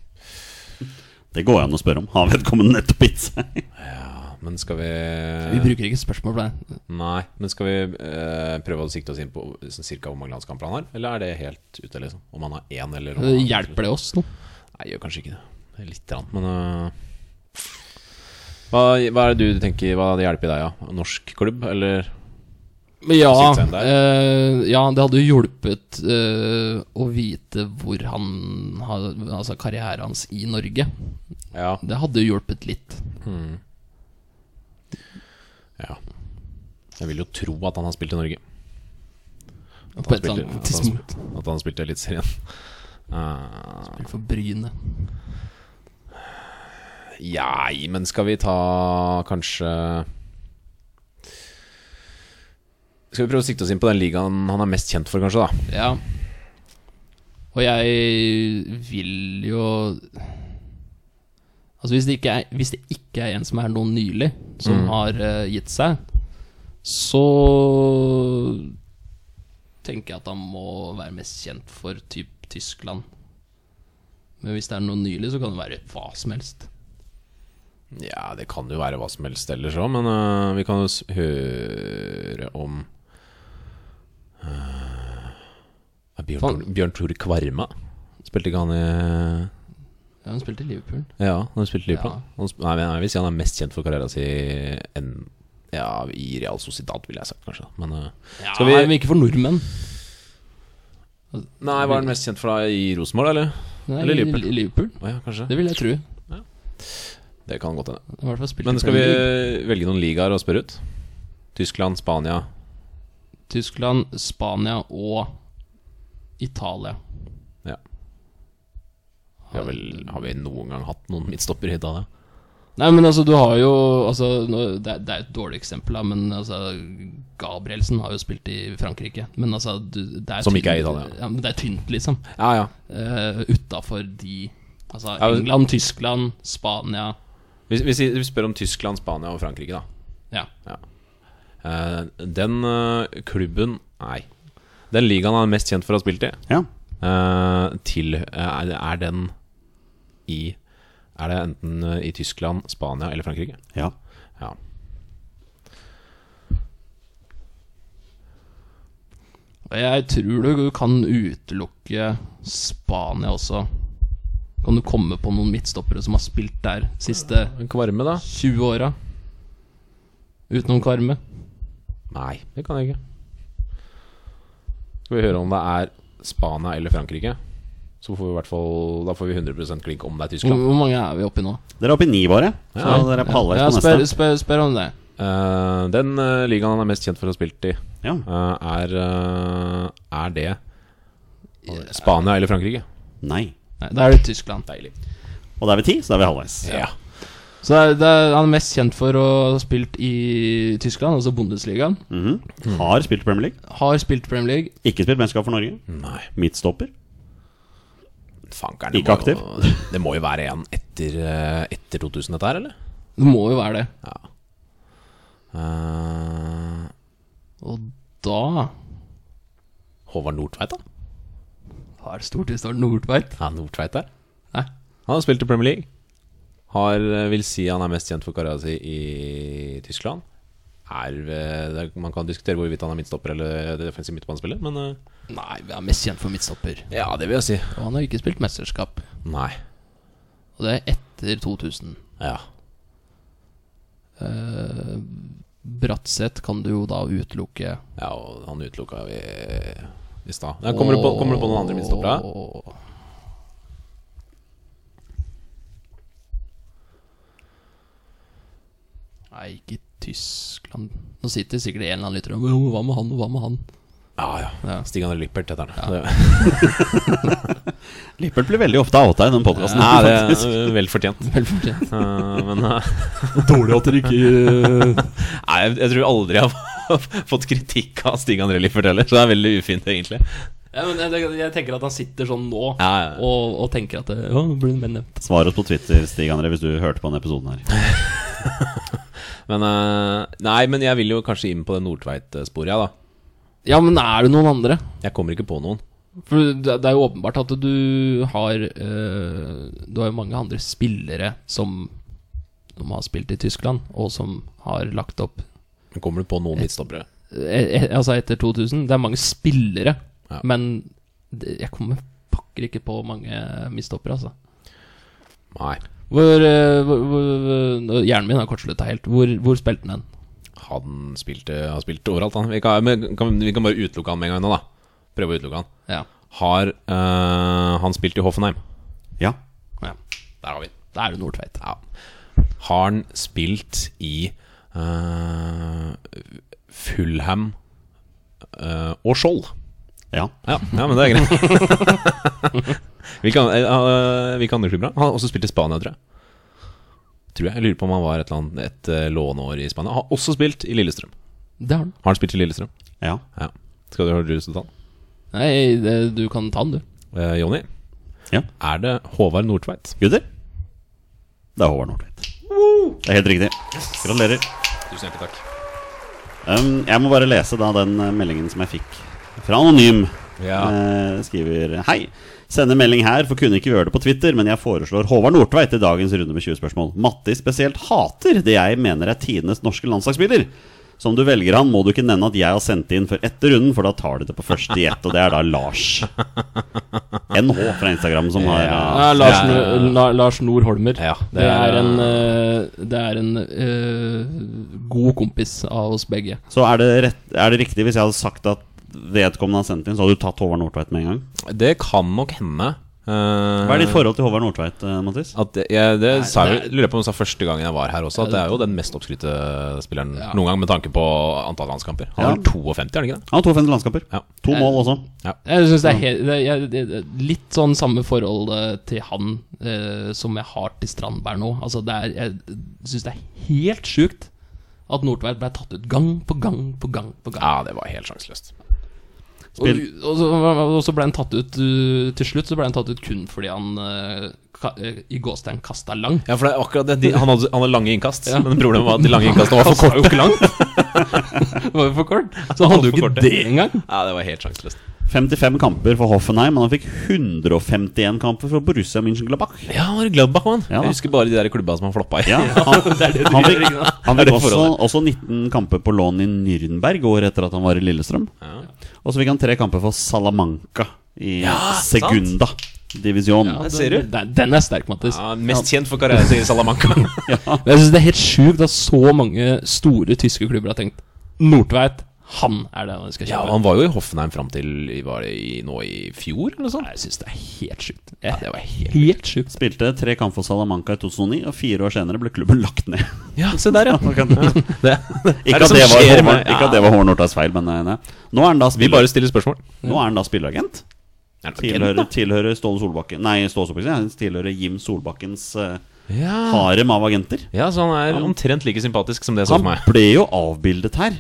Speaker 3: Det går an å spørre om. Har vedkommende nettopp gitt seg?
Speaker 1: Ja, men skal vi
Speaker 3: Eh.
Speaker 2: Vi bruker ikke spørsmål på det.
Speaker 1: Nei, men skal vi eh, prøve å sikte oss inn på sånn, cirka hvor mange landskamper han har? Eller er det helt ute, liksom? Om han har én, eller om
Speaker 2: Eh,
Speaker 1: han har-
Speaker 2: Hjelper det oss nå?
Speaker 1: Nei, gjør kanskje ikke det. det er litt rann, men eh, hva, hva er det du tenker Hva hjelper deg, ja? Norsk klubb, eller
Speaker 2: Men ja,
Speaker 1: Sitt seg
Speaker 2: eh, ja, det hadde jo hjulpet eh, å vite hvor han har Altså karrieren hans i Norge.
Speaker 1: Ja.
Speaker 2: Det hadde jo hjulpet litt.
Speaker 1: ja. Jeg vil jo tro at han har spilt i Norge. At han
Speaker 2: På et eller annet
Speaker 1: spilte,
Speaker 2: tidspunkt.
Speaker 1: at han, at han spilte Eliteserien. Uh,
Speaker 2: For Bryne.
Speaker 1: Nei, men skal vi ta kanskje Skal vi prøve å sikte oss inn på den ligaen han er mest kjent for, kanskje? da
Speaker 2: Ja. Og jeg vil jo Altså hvis det ikke er, hvis det ikke er en som er noe nylig, som har eh, gitt seg, så tenker jeg at han må være mest kjent for typ Tyskland. Men hvis det er noe nylig, så kan det være hva som helst.
Speaker 1: Ja, det kan jo være hva som helst ellers òg, men øh, vi kan jo s- høre om øh, er Bjørn,
Speaker 2: Faen.
Speaker 1: Tor- Bjørn Tore Kvarma. Spilte ikke han i
Speaker 2: Ja, han spilte i Liverpool.
Speaker 1: Ja, han spilte i Liverpool.
Speaker 2: Ja.
Speaker 1: Han sp- Nei, men jeg vil si han er mest kjent for karrieren sin enn ja, i Real Sociedad, ville jeg sagt, kanskje. Men øh,
Speaker 2: Ja,
Speaker 1: Skal vi-
Speaker 2: Men ikke for nordmenn.
Speaker 1: Nei, var han mest kjent for da i Rosenborg, eller?
Speaker 2: Nei,
Speaker 1: Eller Liverpool.
Speaker 2: i Liverpool.
Speaker 1: Å ja, kanskje.
Speaker 2: Det vil jeg tro.
Speaker 1: Det kan godt hende.
Speaker 2: I hvert fall spilte
Speaker 1: Men
Speaker 2: i
Speaker 1: skal vi
Speaker 2: Premier League.
Speaker 1: velge noen ligaer og spørre ut? Tyskland, Spania
Speaker 2: Tyskland, Spania og Italia.
Speaker 1: Ja. Vi har, vel, har vi noen gang hatt noen midtstopper i Italia?
Speaker 2: Nei, men altså, du har jo altså, nå- det, er- det er et dårlig eksempel, da, men altså, Gabrielsen har jo spilt i Frankrike. Men altså du, det er
Speaker 1: Som ikke er
Speaker 2: tynt-
Speaker 1: Italia.
Speaker 2: Ja, men det er tynt, liksom.
Speaker 1: Ja, ja.
Speaker 2: Uh, Utafor de Altså
Speaker 1: men-
Speaker 2: England, Tyskland, Spania
Speaker 1: Vi, vi, sier- vi spør om Tyskland, Spania og Frankrike, da.
Speaker 2: Ja.
Speaker 1: Eh, den eh, klubben Nei. Den ligaen han er mest kjent for å ha spilt i,
Speaker 3: Ja.
Speaker 1: eh, til, eh, er, er den i Er det enten eh, i Tyskland, Spania eller Frankrike?
Speaker 3: ja.
Speaker 1: Ja.
Speaker 2: Og jeg tror du kan utelukke Spania også. Kan du komme på noen midtstoppere som har spilt der siste
Speaker 1: Kvarme, da?
Speaker 2: 20 åra? Utenom Kvarme?
Speaker 1: Nei, det kan jeg ikke. Skal vi høre om det er Spania eller Frankrike? Så får vi i hvert fall Da får vi 100 klikk om det er
Speaker 2: Hvor,
Speaker 1: Tyskland.
Speaker 2: hvor mange er vi oppi nå?
Speaker 3: Dere er oppe i ni, bare. Så
Speaker 1: Ja.
Speaker 3: dere er på halvveis
Speaker 2: Ja,
Speaker 3: på
Speaker 2: spør,
Speaker 3: neste.
Speaker 2: spør, spør om det.
Speaker 1: Eh, den eh, ligaen han er mest kjent for å ha spilt i,
Speaker 3: Ja.
Speaker 1: eh, er eh, Er det Spania eller Frankrike?
Speaker 3: Nei.
Speaker 2: Nei, Da er det Tyskland.
Speaker 1: Deilig.
Speaker 3: Og da er vi ti, så da er vi halvveis.
Speaker 1: Ja.
Speaker 2: Så det er, det er, Han er mest kjent for å ha spilt i Tyskland, altså Bundesligaen.
Speaker 3: Mhm. Har spilt Premier League.
Speaker 2: Har spilt Premier League.
Speaker 3: Ikke spilt mesterskap for Norge.
Speaker 1: Nei,
Speaker 3: Midtstopper.
Speaker 1: fankeren det
Speaker 3: Ikke
Speaker 1: må
Speaker 3: aktiv?
Speaker 1: Jo, det må jo være en etter, eh, etter 2000, dette her, eller?
Speaker 2: Det må jo være det.
Speaker 1: Ja. Eh,
Speaker 2: Og da
Speaker 1: Håvard Nordtveit, da?
Speaker 2: har stort sett vært Nordtveit.
Speaker 1: Ja, Nordtveit der.
Speaker 2: Nei.
Speaker 1: Han har spilt i Premier League. Har, eh, vil si han er mest kjent for karrieren sin i Tyskland. Er, eh, det er- man kan diskutere hvorvidt han er midtstopper eller defensiv midtbanespiller, men eh,
Speaker 2: Nei, vi er mest kjent for midtstopper.
Speaker 1: Ja, det vil jeg si.
Speaker 2: Og han har ikke spilt mesterskap.
Speaker 1: Nei.
Speaker 2: Og det er etter 2000.
Speaker 1: Ja.
Speaker 2: Eh, Bratseth kan du jo da utelukke.
Speaker 1: ja og han utelukka vi i stad. Ja, kommer, du på- kommer du på noen andre midtstoppere?
Speaker 2: Åh. Nei, ikke Tyskland. Nå sitter sikkert en eller annen lytter og «Jo, Hva med han, og hva med han?
Speaker 1: Ja, ja. Stig-André Lippert heter han. Det-
Speaker 3: Lippert blir veldig ofte outa i den podkasten.
Speaker 1: Ja, det er vel fortjent.
Speaker 2: Vel fortjent.
Speaker 1: Eh, Men eh,
Speaker 2: Dårlig at dere ikke
Speaker 1: Nei, jeg, jeg tror aldri jeg har fått kritikk av Stig-André Lippert heller, så det er veldig ufint, egentlig.
Speaker 2: ja, men jeg, jeg tenker at han sitter sånn nå
Speaker 1: Ja, ja, ja.
Speaker 2: Og, og tenker at det- Å, blir mer nevnt.
Speaker 3: Svar oss på Twitter, Stig André, hvis du hørte på denne episoden her.
Speaker 1: Men eh, Nei, men jeg vil jo kanskje inn på det Nordtveit-sporet, jeg, da.
Speaker 2: Ja, men er det noen andre?
Speaker 1: Jeg kommer ikke på noen.
Speaker 2: For det, det er jo åpenbart at du har eh, Du har jo mange andre spillere som som har spilt i Tyskland, og som har lagt opp
Speaker 1: Men Kommer du på noen midtstoppere?
Speaker 2: eh, eh, Altså etter 2000. Det er mange spillere,
Speaker 1: Ja.
Speaker 2: men det, jeg kommer pakker ikke på mange mistoppere, altså.
Speaker 1: Nei.
Speaker 2: Hvor, eh, hvor, hvor, hvor Hjernen min har kortslutta helt. Hvor, hvor spilte han hen?
Speaker 1: Han spilte, har spilt overalt, han. Vi kan, men kan, vi kan bare utelukke han med en gang nå, da. Prøve å utelukke han.
Speaker 2: Ja.
Speaker 1: Har eh, Han spilt i Hoffenheim.
Speaker 3: Ja.
Speaker 2: ja.
Speaker 1: Der har vi den.
Speaker 2: Da er det Nordtveit.
Speaker 1: Ja. Har han spilt i eh, Fulham eh, og Skjold?
Speaker 3: Ja.
Speaker 1: Ja, ja, men det er greit. hvilke, an- eh, eh, hvilke andre klubber? da? Han har også spilt i Spania, tror jeg. Tror jeg. Jeg lurer på om han var et, eller annet, et eh, låneår i Spania. Har også spilt i Lillestrøm.
Speaker 2: Det har han.
Speaker 1: Har han spilt i Lillestrøm?
Speaker 3: ja.
Speaker 1: Ja. Skal du ha lyst til å ta den?
Speaker 2: Nei, det, du kan ta den, du.
Speaker 1: Eh, Jonny,
Speaker 3: Ja.
Speaker 1: er det Håvard Nordtveit?
Speaker 3: Gutter? Det er Håvard Nordtveit. Det er helt riktig. Gratulerer.
Speaker 1: Tusen hjertelig takk.
Speaker 3: Um, jeg må bare lese da den eh, meldingen som jeg fikk fra Anonym.
Speaker 1: Ja.
Speaker 3: Eh, skriver Hei. Sender melding her, for kunne ikke gjøre det på Twitter, men jeg foreslår Håvard Nordtveit i dagens runde med 20 spørsmål. Matti spesielt hater det jeg mener er tidenes norske landslagsspiller. Som du velger han, må du ikke nevne at jeg har sendt det inn før etter runden, for da tar de det på første i ett, og det er da Lars. NH fra Instagram som har
Speaker 2: Ja,
Speaker 3: eh,
Speaker 2: Lars,
Speaker 1: ja, ja, ja.
Speaker 2: Nor- La, Lars Nord Holmer.
Speaker 1: Ja,
Speaker 2: det, er en, eh, det er en eh, god kompis av oss begge.
Speaker 3: Så er det, rett, er det riktig hvis jeg hadde sagt at vedkommende har sendt inn, så hadde du tatt Håvard Nordtveit med en gang?
Speaker 1: Det kan nok hende. eh,
Speaker 3: Hva er ditt forhold til Håvard Nordtveit, eh, Mattis?
Speaker 1: At det- jeg, det sa jeg,
Speaker 2: det
Speaker 1: lurer jeg på om jeg sa første gangen jeg var her også, at det er jo den mest oppskrytte spilleren noen gang, med tanke på antall landskamper. Han er
Speaker 3: Ja.
Speaker 1: vel 52, er han ikke det?
Speaker 3: Han har to fem landskamper.
Speaker 1: Ja.
Speaker 3: To mål også.
Speaker 2: Jeg synes det er he det, jeg, det, det, litt sånn samme forhold eh, til han eh, som jeg har til Strandberg nå. Altså det er, jeg syns det er helt sjukt at Nordtveit ble tatt ut gang på gang på gang. på gang
Speaker 1: Ja, det var helt sjanseløst.
Speaker 2: og,
Speaker 3: Spill.
Speaker 2: og, så, og så ble han tatt ut eh, til slutt så ble han tatt ut kun fordi han eh, ka, eh, i gåstein kasta lang.
Speaker 1: Ja, for det er akkurat det. De, han, hadde, han hadde lange innkast, men problemet var at de lange innkastene var for korte. ikke langt.
Speaker 2: Det var jo for kort. Så han hadde jo
Speaker 1: For
Speaker 2: ikke
Speaker 1: kort, ja.
Speaker 2: det engang.
Speaker 1: Ja, det var helt sjanseløst.
Speaker 3: 55 kamper for Hoffenheim, men han fikk 151 kamper for Borussia München-Glabach.
Speaker 1: Ja, han var i Gladbach, mann.
Speaker 3: Ja, da.
Speaker 1: jeg husker bare de der klubba som han floppa i.
Speaker 3: Ja, han, han fikk, han
Speaker 1: Det er
Speaker 3: fikk
Speaker 1: det
Speaker 3: også,
Speaker 1: forholdet.
Speaker 3: også 19 kamper på lån i Nürnberg året etter at han var i Lillestrøm. Og så fikk han tre kamper for Salamanca i Segunda divisjon.
Speaker 2: Ja,
Speaker 1: ser du.
Speaker 2: Den, den er sterk, Mattis.
Speaker 1: Ja, mest kjent for karrieren sin i Salamanca.
Speaker 2: Men jeg synes det er helt sjukt at så mange store tyske klubber har tenkt Nordtveit, han er det vi skal
Speaker 1: Ja,
Speaker 2: kjøpe.
Speaker 1: Han var jo i Hoffenheim fram til var det i, nå i fjor, eller noe sånt.
Speaker 2: Jeg synes det er helt sjukt. Ja,
Speaker 1: det var helt-
Speaker 2: sjukt.
Speaker 3: Spilte tre kamper for Salamanca i 2009, og fire år senere ble klubben lagt ned.
Speaker 1: Ja, se der, ja. Det,
Speaker 3: Ikke
Speaker 1: det
Speaker 3: at
Speaker 1: som
Speaker 3: det var
Speaker 1: skjer
Speaker 3: Håvard-
Speaker 1: med-
Speaker 3: ikke at det var Håvard Nordtveits feil, men eh, nei. Nå er han da
Speaker 1: Vi
Speaker 3: spiller,
Speaker 1: bare stiller spørsmål.
Speaker 3: nå er han da spilleagent.
Speaker 1: Er det noe kjent, da?
Speaker 3: Tilhører, tilhører Ståle Solbakken Nei, Ståle Solbakken, ja, tilhører Jim Solbakkens eh,
Speaker 1: Ja.
Speaker 3: harem av agenter.
Speaker 1: Ja, så han er omtrent like sympatisk som det jeg så
Speaker 3: Han
Speaker 1: for meg.
Speaker 3: ble jo avbildet her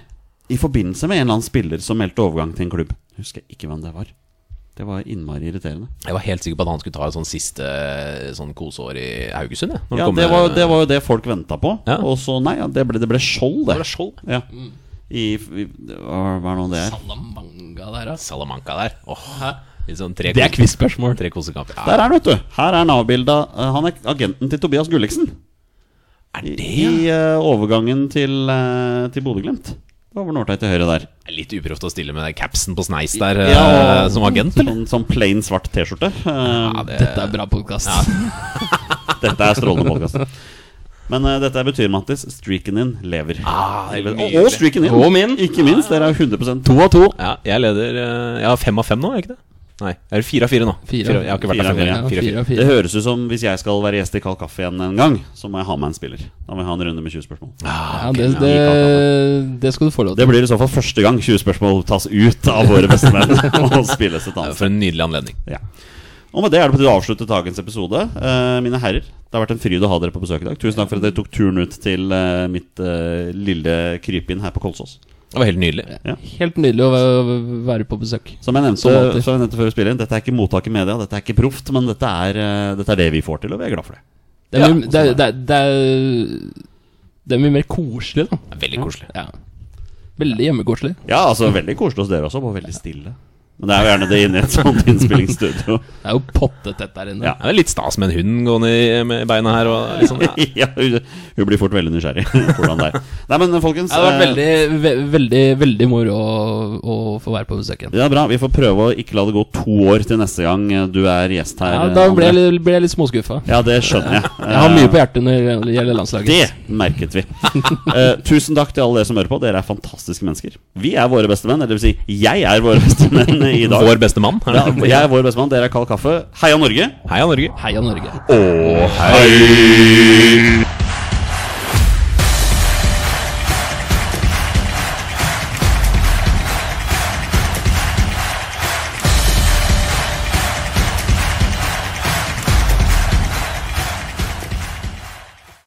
Speaker 3: i forbindelse med en eller annen spiller som meldte overgang til en klubb. Jeg husker ikke hvem det var. Det var innmari irriterende.
Speaker 1: Jeg var helt sikker på at han skulle ta et sånn siste sånn koseår i Haugesund. Jeg, når
Speaker 3: Ja,
Speaker 1: han kom
Speaker 3: det var,
Speaker 1: med-
Speaker 3: det var jo det folk venta på.
Speaker 1: Ja.
Speaker 3: Og så, nei, ja, det ble, det ble Skjold,
Speaker 1: Det var
Speaker 3: det.
Speaker 1: Skjold.
Speaker 3: Ja. I, i, hva hva er nå det er?
Speaker 2: Salamanga der, altså.
Speaker 1: Salamanca der. Åh, litt sånn tre
Speaker 2: Det er
Speaker 1: kos-
Speaker 2: quiz-spørsmål.
Speaker 1: Tre kosekamper. Ja,
Speaker 3: Der er han, vet du. Her er han avbilda. Eh, Han er agenten til Tobias Gulliksen.
Speaker 1: er det
Speaker 3: I eh, overgangen til, uh, til Bodø-Glimt. Det var over Nordteit til høyre der.
Speaker 1: Det er Litt uproft å stille med den capsen på sneis der eh,
Speaker 3: Ja, og-
Speaker 1: som agent, eller?
Speaker 3: Sånn, sånn plain svart T-skjorte. Eh,
Speaker 1: Ja, det,
Speaker 2: Dette er bra podkast.
Speaker 3: Dette er strålende podkast. Men eh, dette betyr, Mattis, streaken din lever.
Speaker 1: Ah, det er
Speaker 3: og,
Speaker 1: nydelig.
Speaker 3: og streaken din!
Speaker 2: Og min.
Speaker 3: Ikke minst. Dere er jo 100 To av to.
Speaker 1: ja, jeg leder eh, Jeg har fem av fem nå, er jeg ikke det? Nei, jeg er fire av fire nå.
Speaker 2: Fire.
Speaker 1: jeg har ikke vært
Speaker 3: Fire
Speaker 1: der
Speaker 3: av
Speaker 1: før.
Speaker 3: fire,
Speaker 1: Ja, fire, av fire.
Speaker 2: av
Speaker 3: Det høres ut som hvis jeg skal være gjest i Kald kaffe igjen en gang, så må jeg ha med en spiller. Da må jeg ha en runde med 20 spørsmål.
Speaker 2: Ja,
Speaker 1: Ah,
Speaker 2: det, det, det skal du få lov
Speaker 3: Det
Speaker 2: til.
Speaker 3: blir i så fall første gang 20 spørsmål tas ut av våre bestemenn og spilles et annet sted.
Speaker 1: For en nydelig anledning.
Speaker 3: Ja. Og med det er det på tide å avslutte dagens episode. Eh, mine herrer, det har vært en fryd å ha dere på besøk i dag. Tusen takk for at dere tok turen ut til eh, mitt eh, lille krypinn her på Kolsås.
Speaker 1: Det var helt nydelig.
Speaker 2: Helt nydelig å væ- være på besøk.
Speaker 3: Som jeg nevnte,
Speaker 2: Som alltid.
Speaker 3: som jeg nevnte før vi spiller inn, dette er ikke mottak i media, dette er ikke proft, men dette er, eh, dette er det vi får til, og vi er glad for det.
Speaker 2: Det er, mye, det, er, det, er, det, er, det er mye mer koselig, da.
Speaker 1: Det er Veldig koselig.
Speaker 2: Ja. Veldig hjemmekoselig.
Speaker 3: Ja, altså veldig koselig hos dere også, bare veldig stille. Men det er jo gjerne det inne i et sånt innspillingsstudio.
Speaker 2: Det er jo pottet tett der inne.
Speaker 3: Ja.
Speaker 1: Ja, det er litt stas med en hund gående i- med beina her. Og litt sånn, ja.
Speaker 3: Ja, hun, hun blir fort veldig nysgjerrig på hvordan det er. Nei, men folkens
Speaker 2: Det hadde vært
Speaker 3: eh,
Speaker 2: veldig, ve- veldig, veldig moro å, å få være på besøk igjen.
Speaker 3: Ja, bra. Vi får prøve å ikke la det gå to år til neste gang eh, du er gjest her.
Speaker 2: Ja,
Speaker 3: eh,
Speaker 2: da ble jeg,
Speaker 3: André.
Speaker 2: litt- ble jeg litt småskuffa.
Speaker 3: Ja, det skjønner jeg.
Speaker 2: Jeg har mye på hjertet når det gjelder landslaget.
Speaker 3: Det merket vi. Eh, tusen takk til alle dere som hører på. Dere er fantastiske mennesker. Vi er våre beste menn. Eller det vil si, jeg er våre beste menn i dag.
Speaker 1: Vår beste mann.
Speaker 3: ja, jeg er vår beste mann. Dere er Kald Kaffe. Heia Norge!
Speaker 1: Heia Norge.
Speaker 2: Heia Norge.
Speaker 3: Og hei!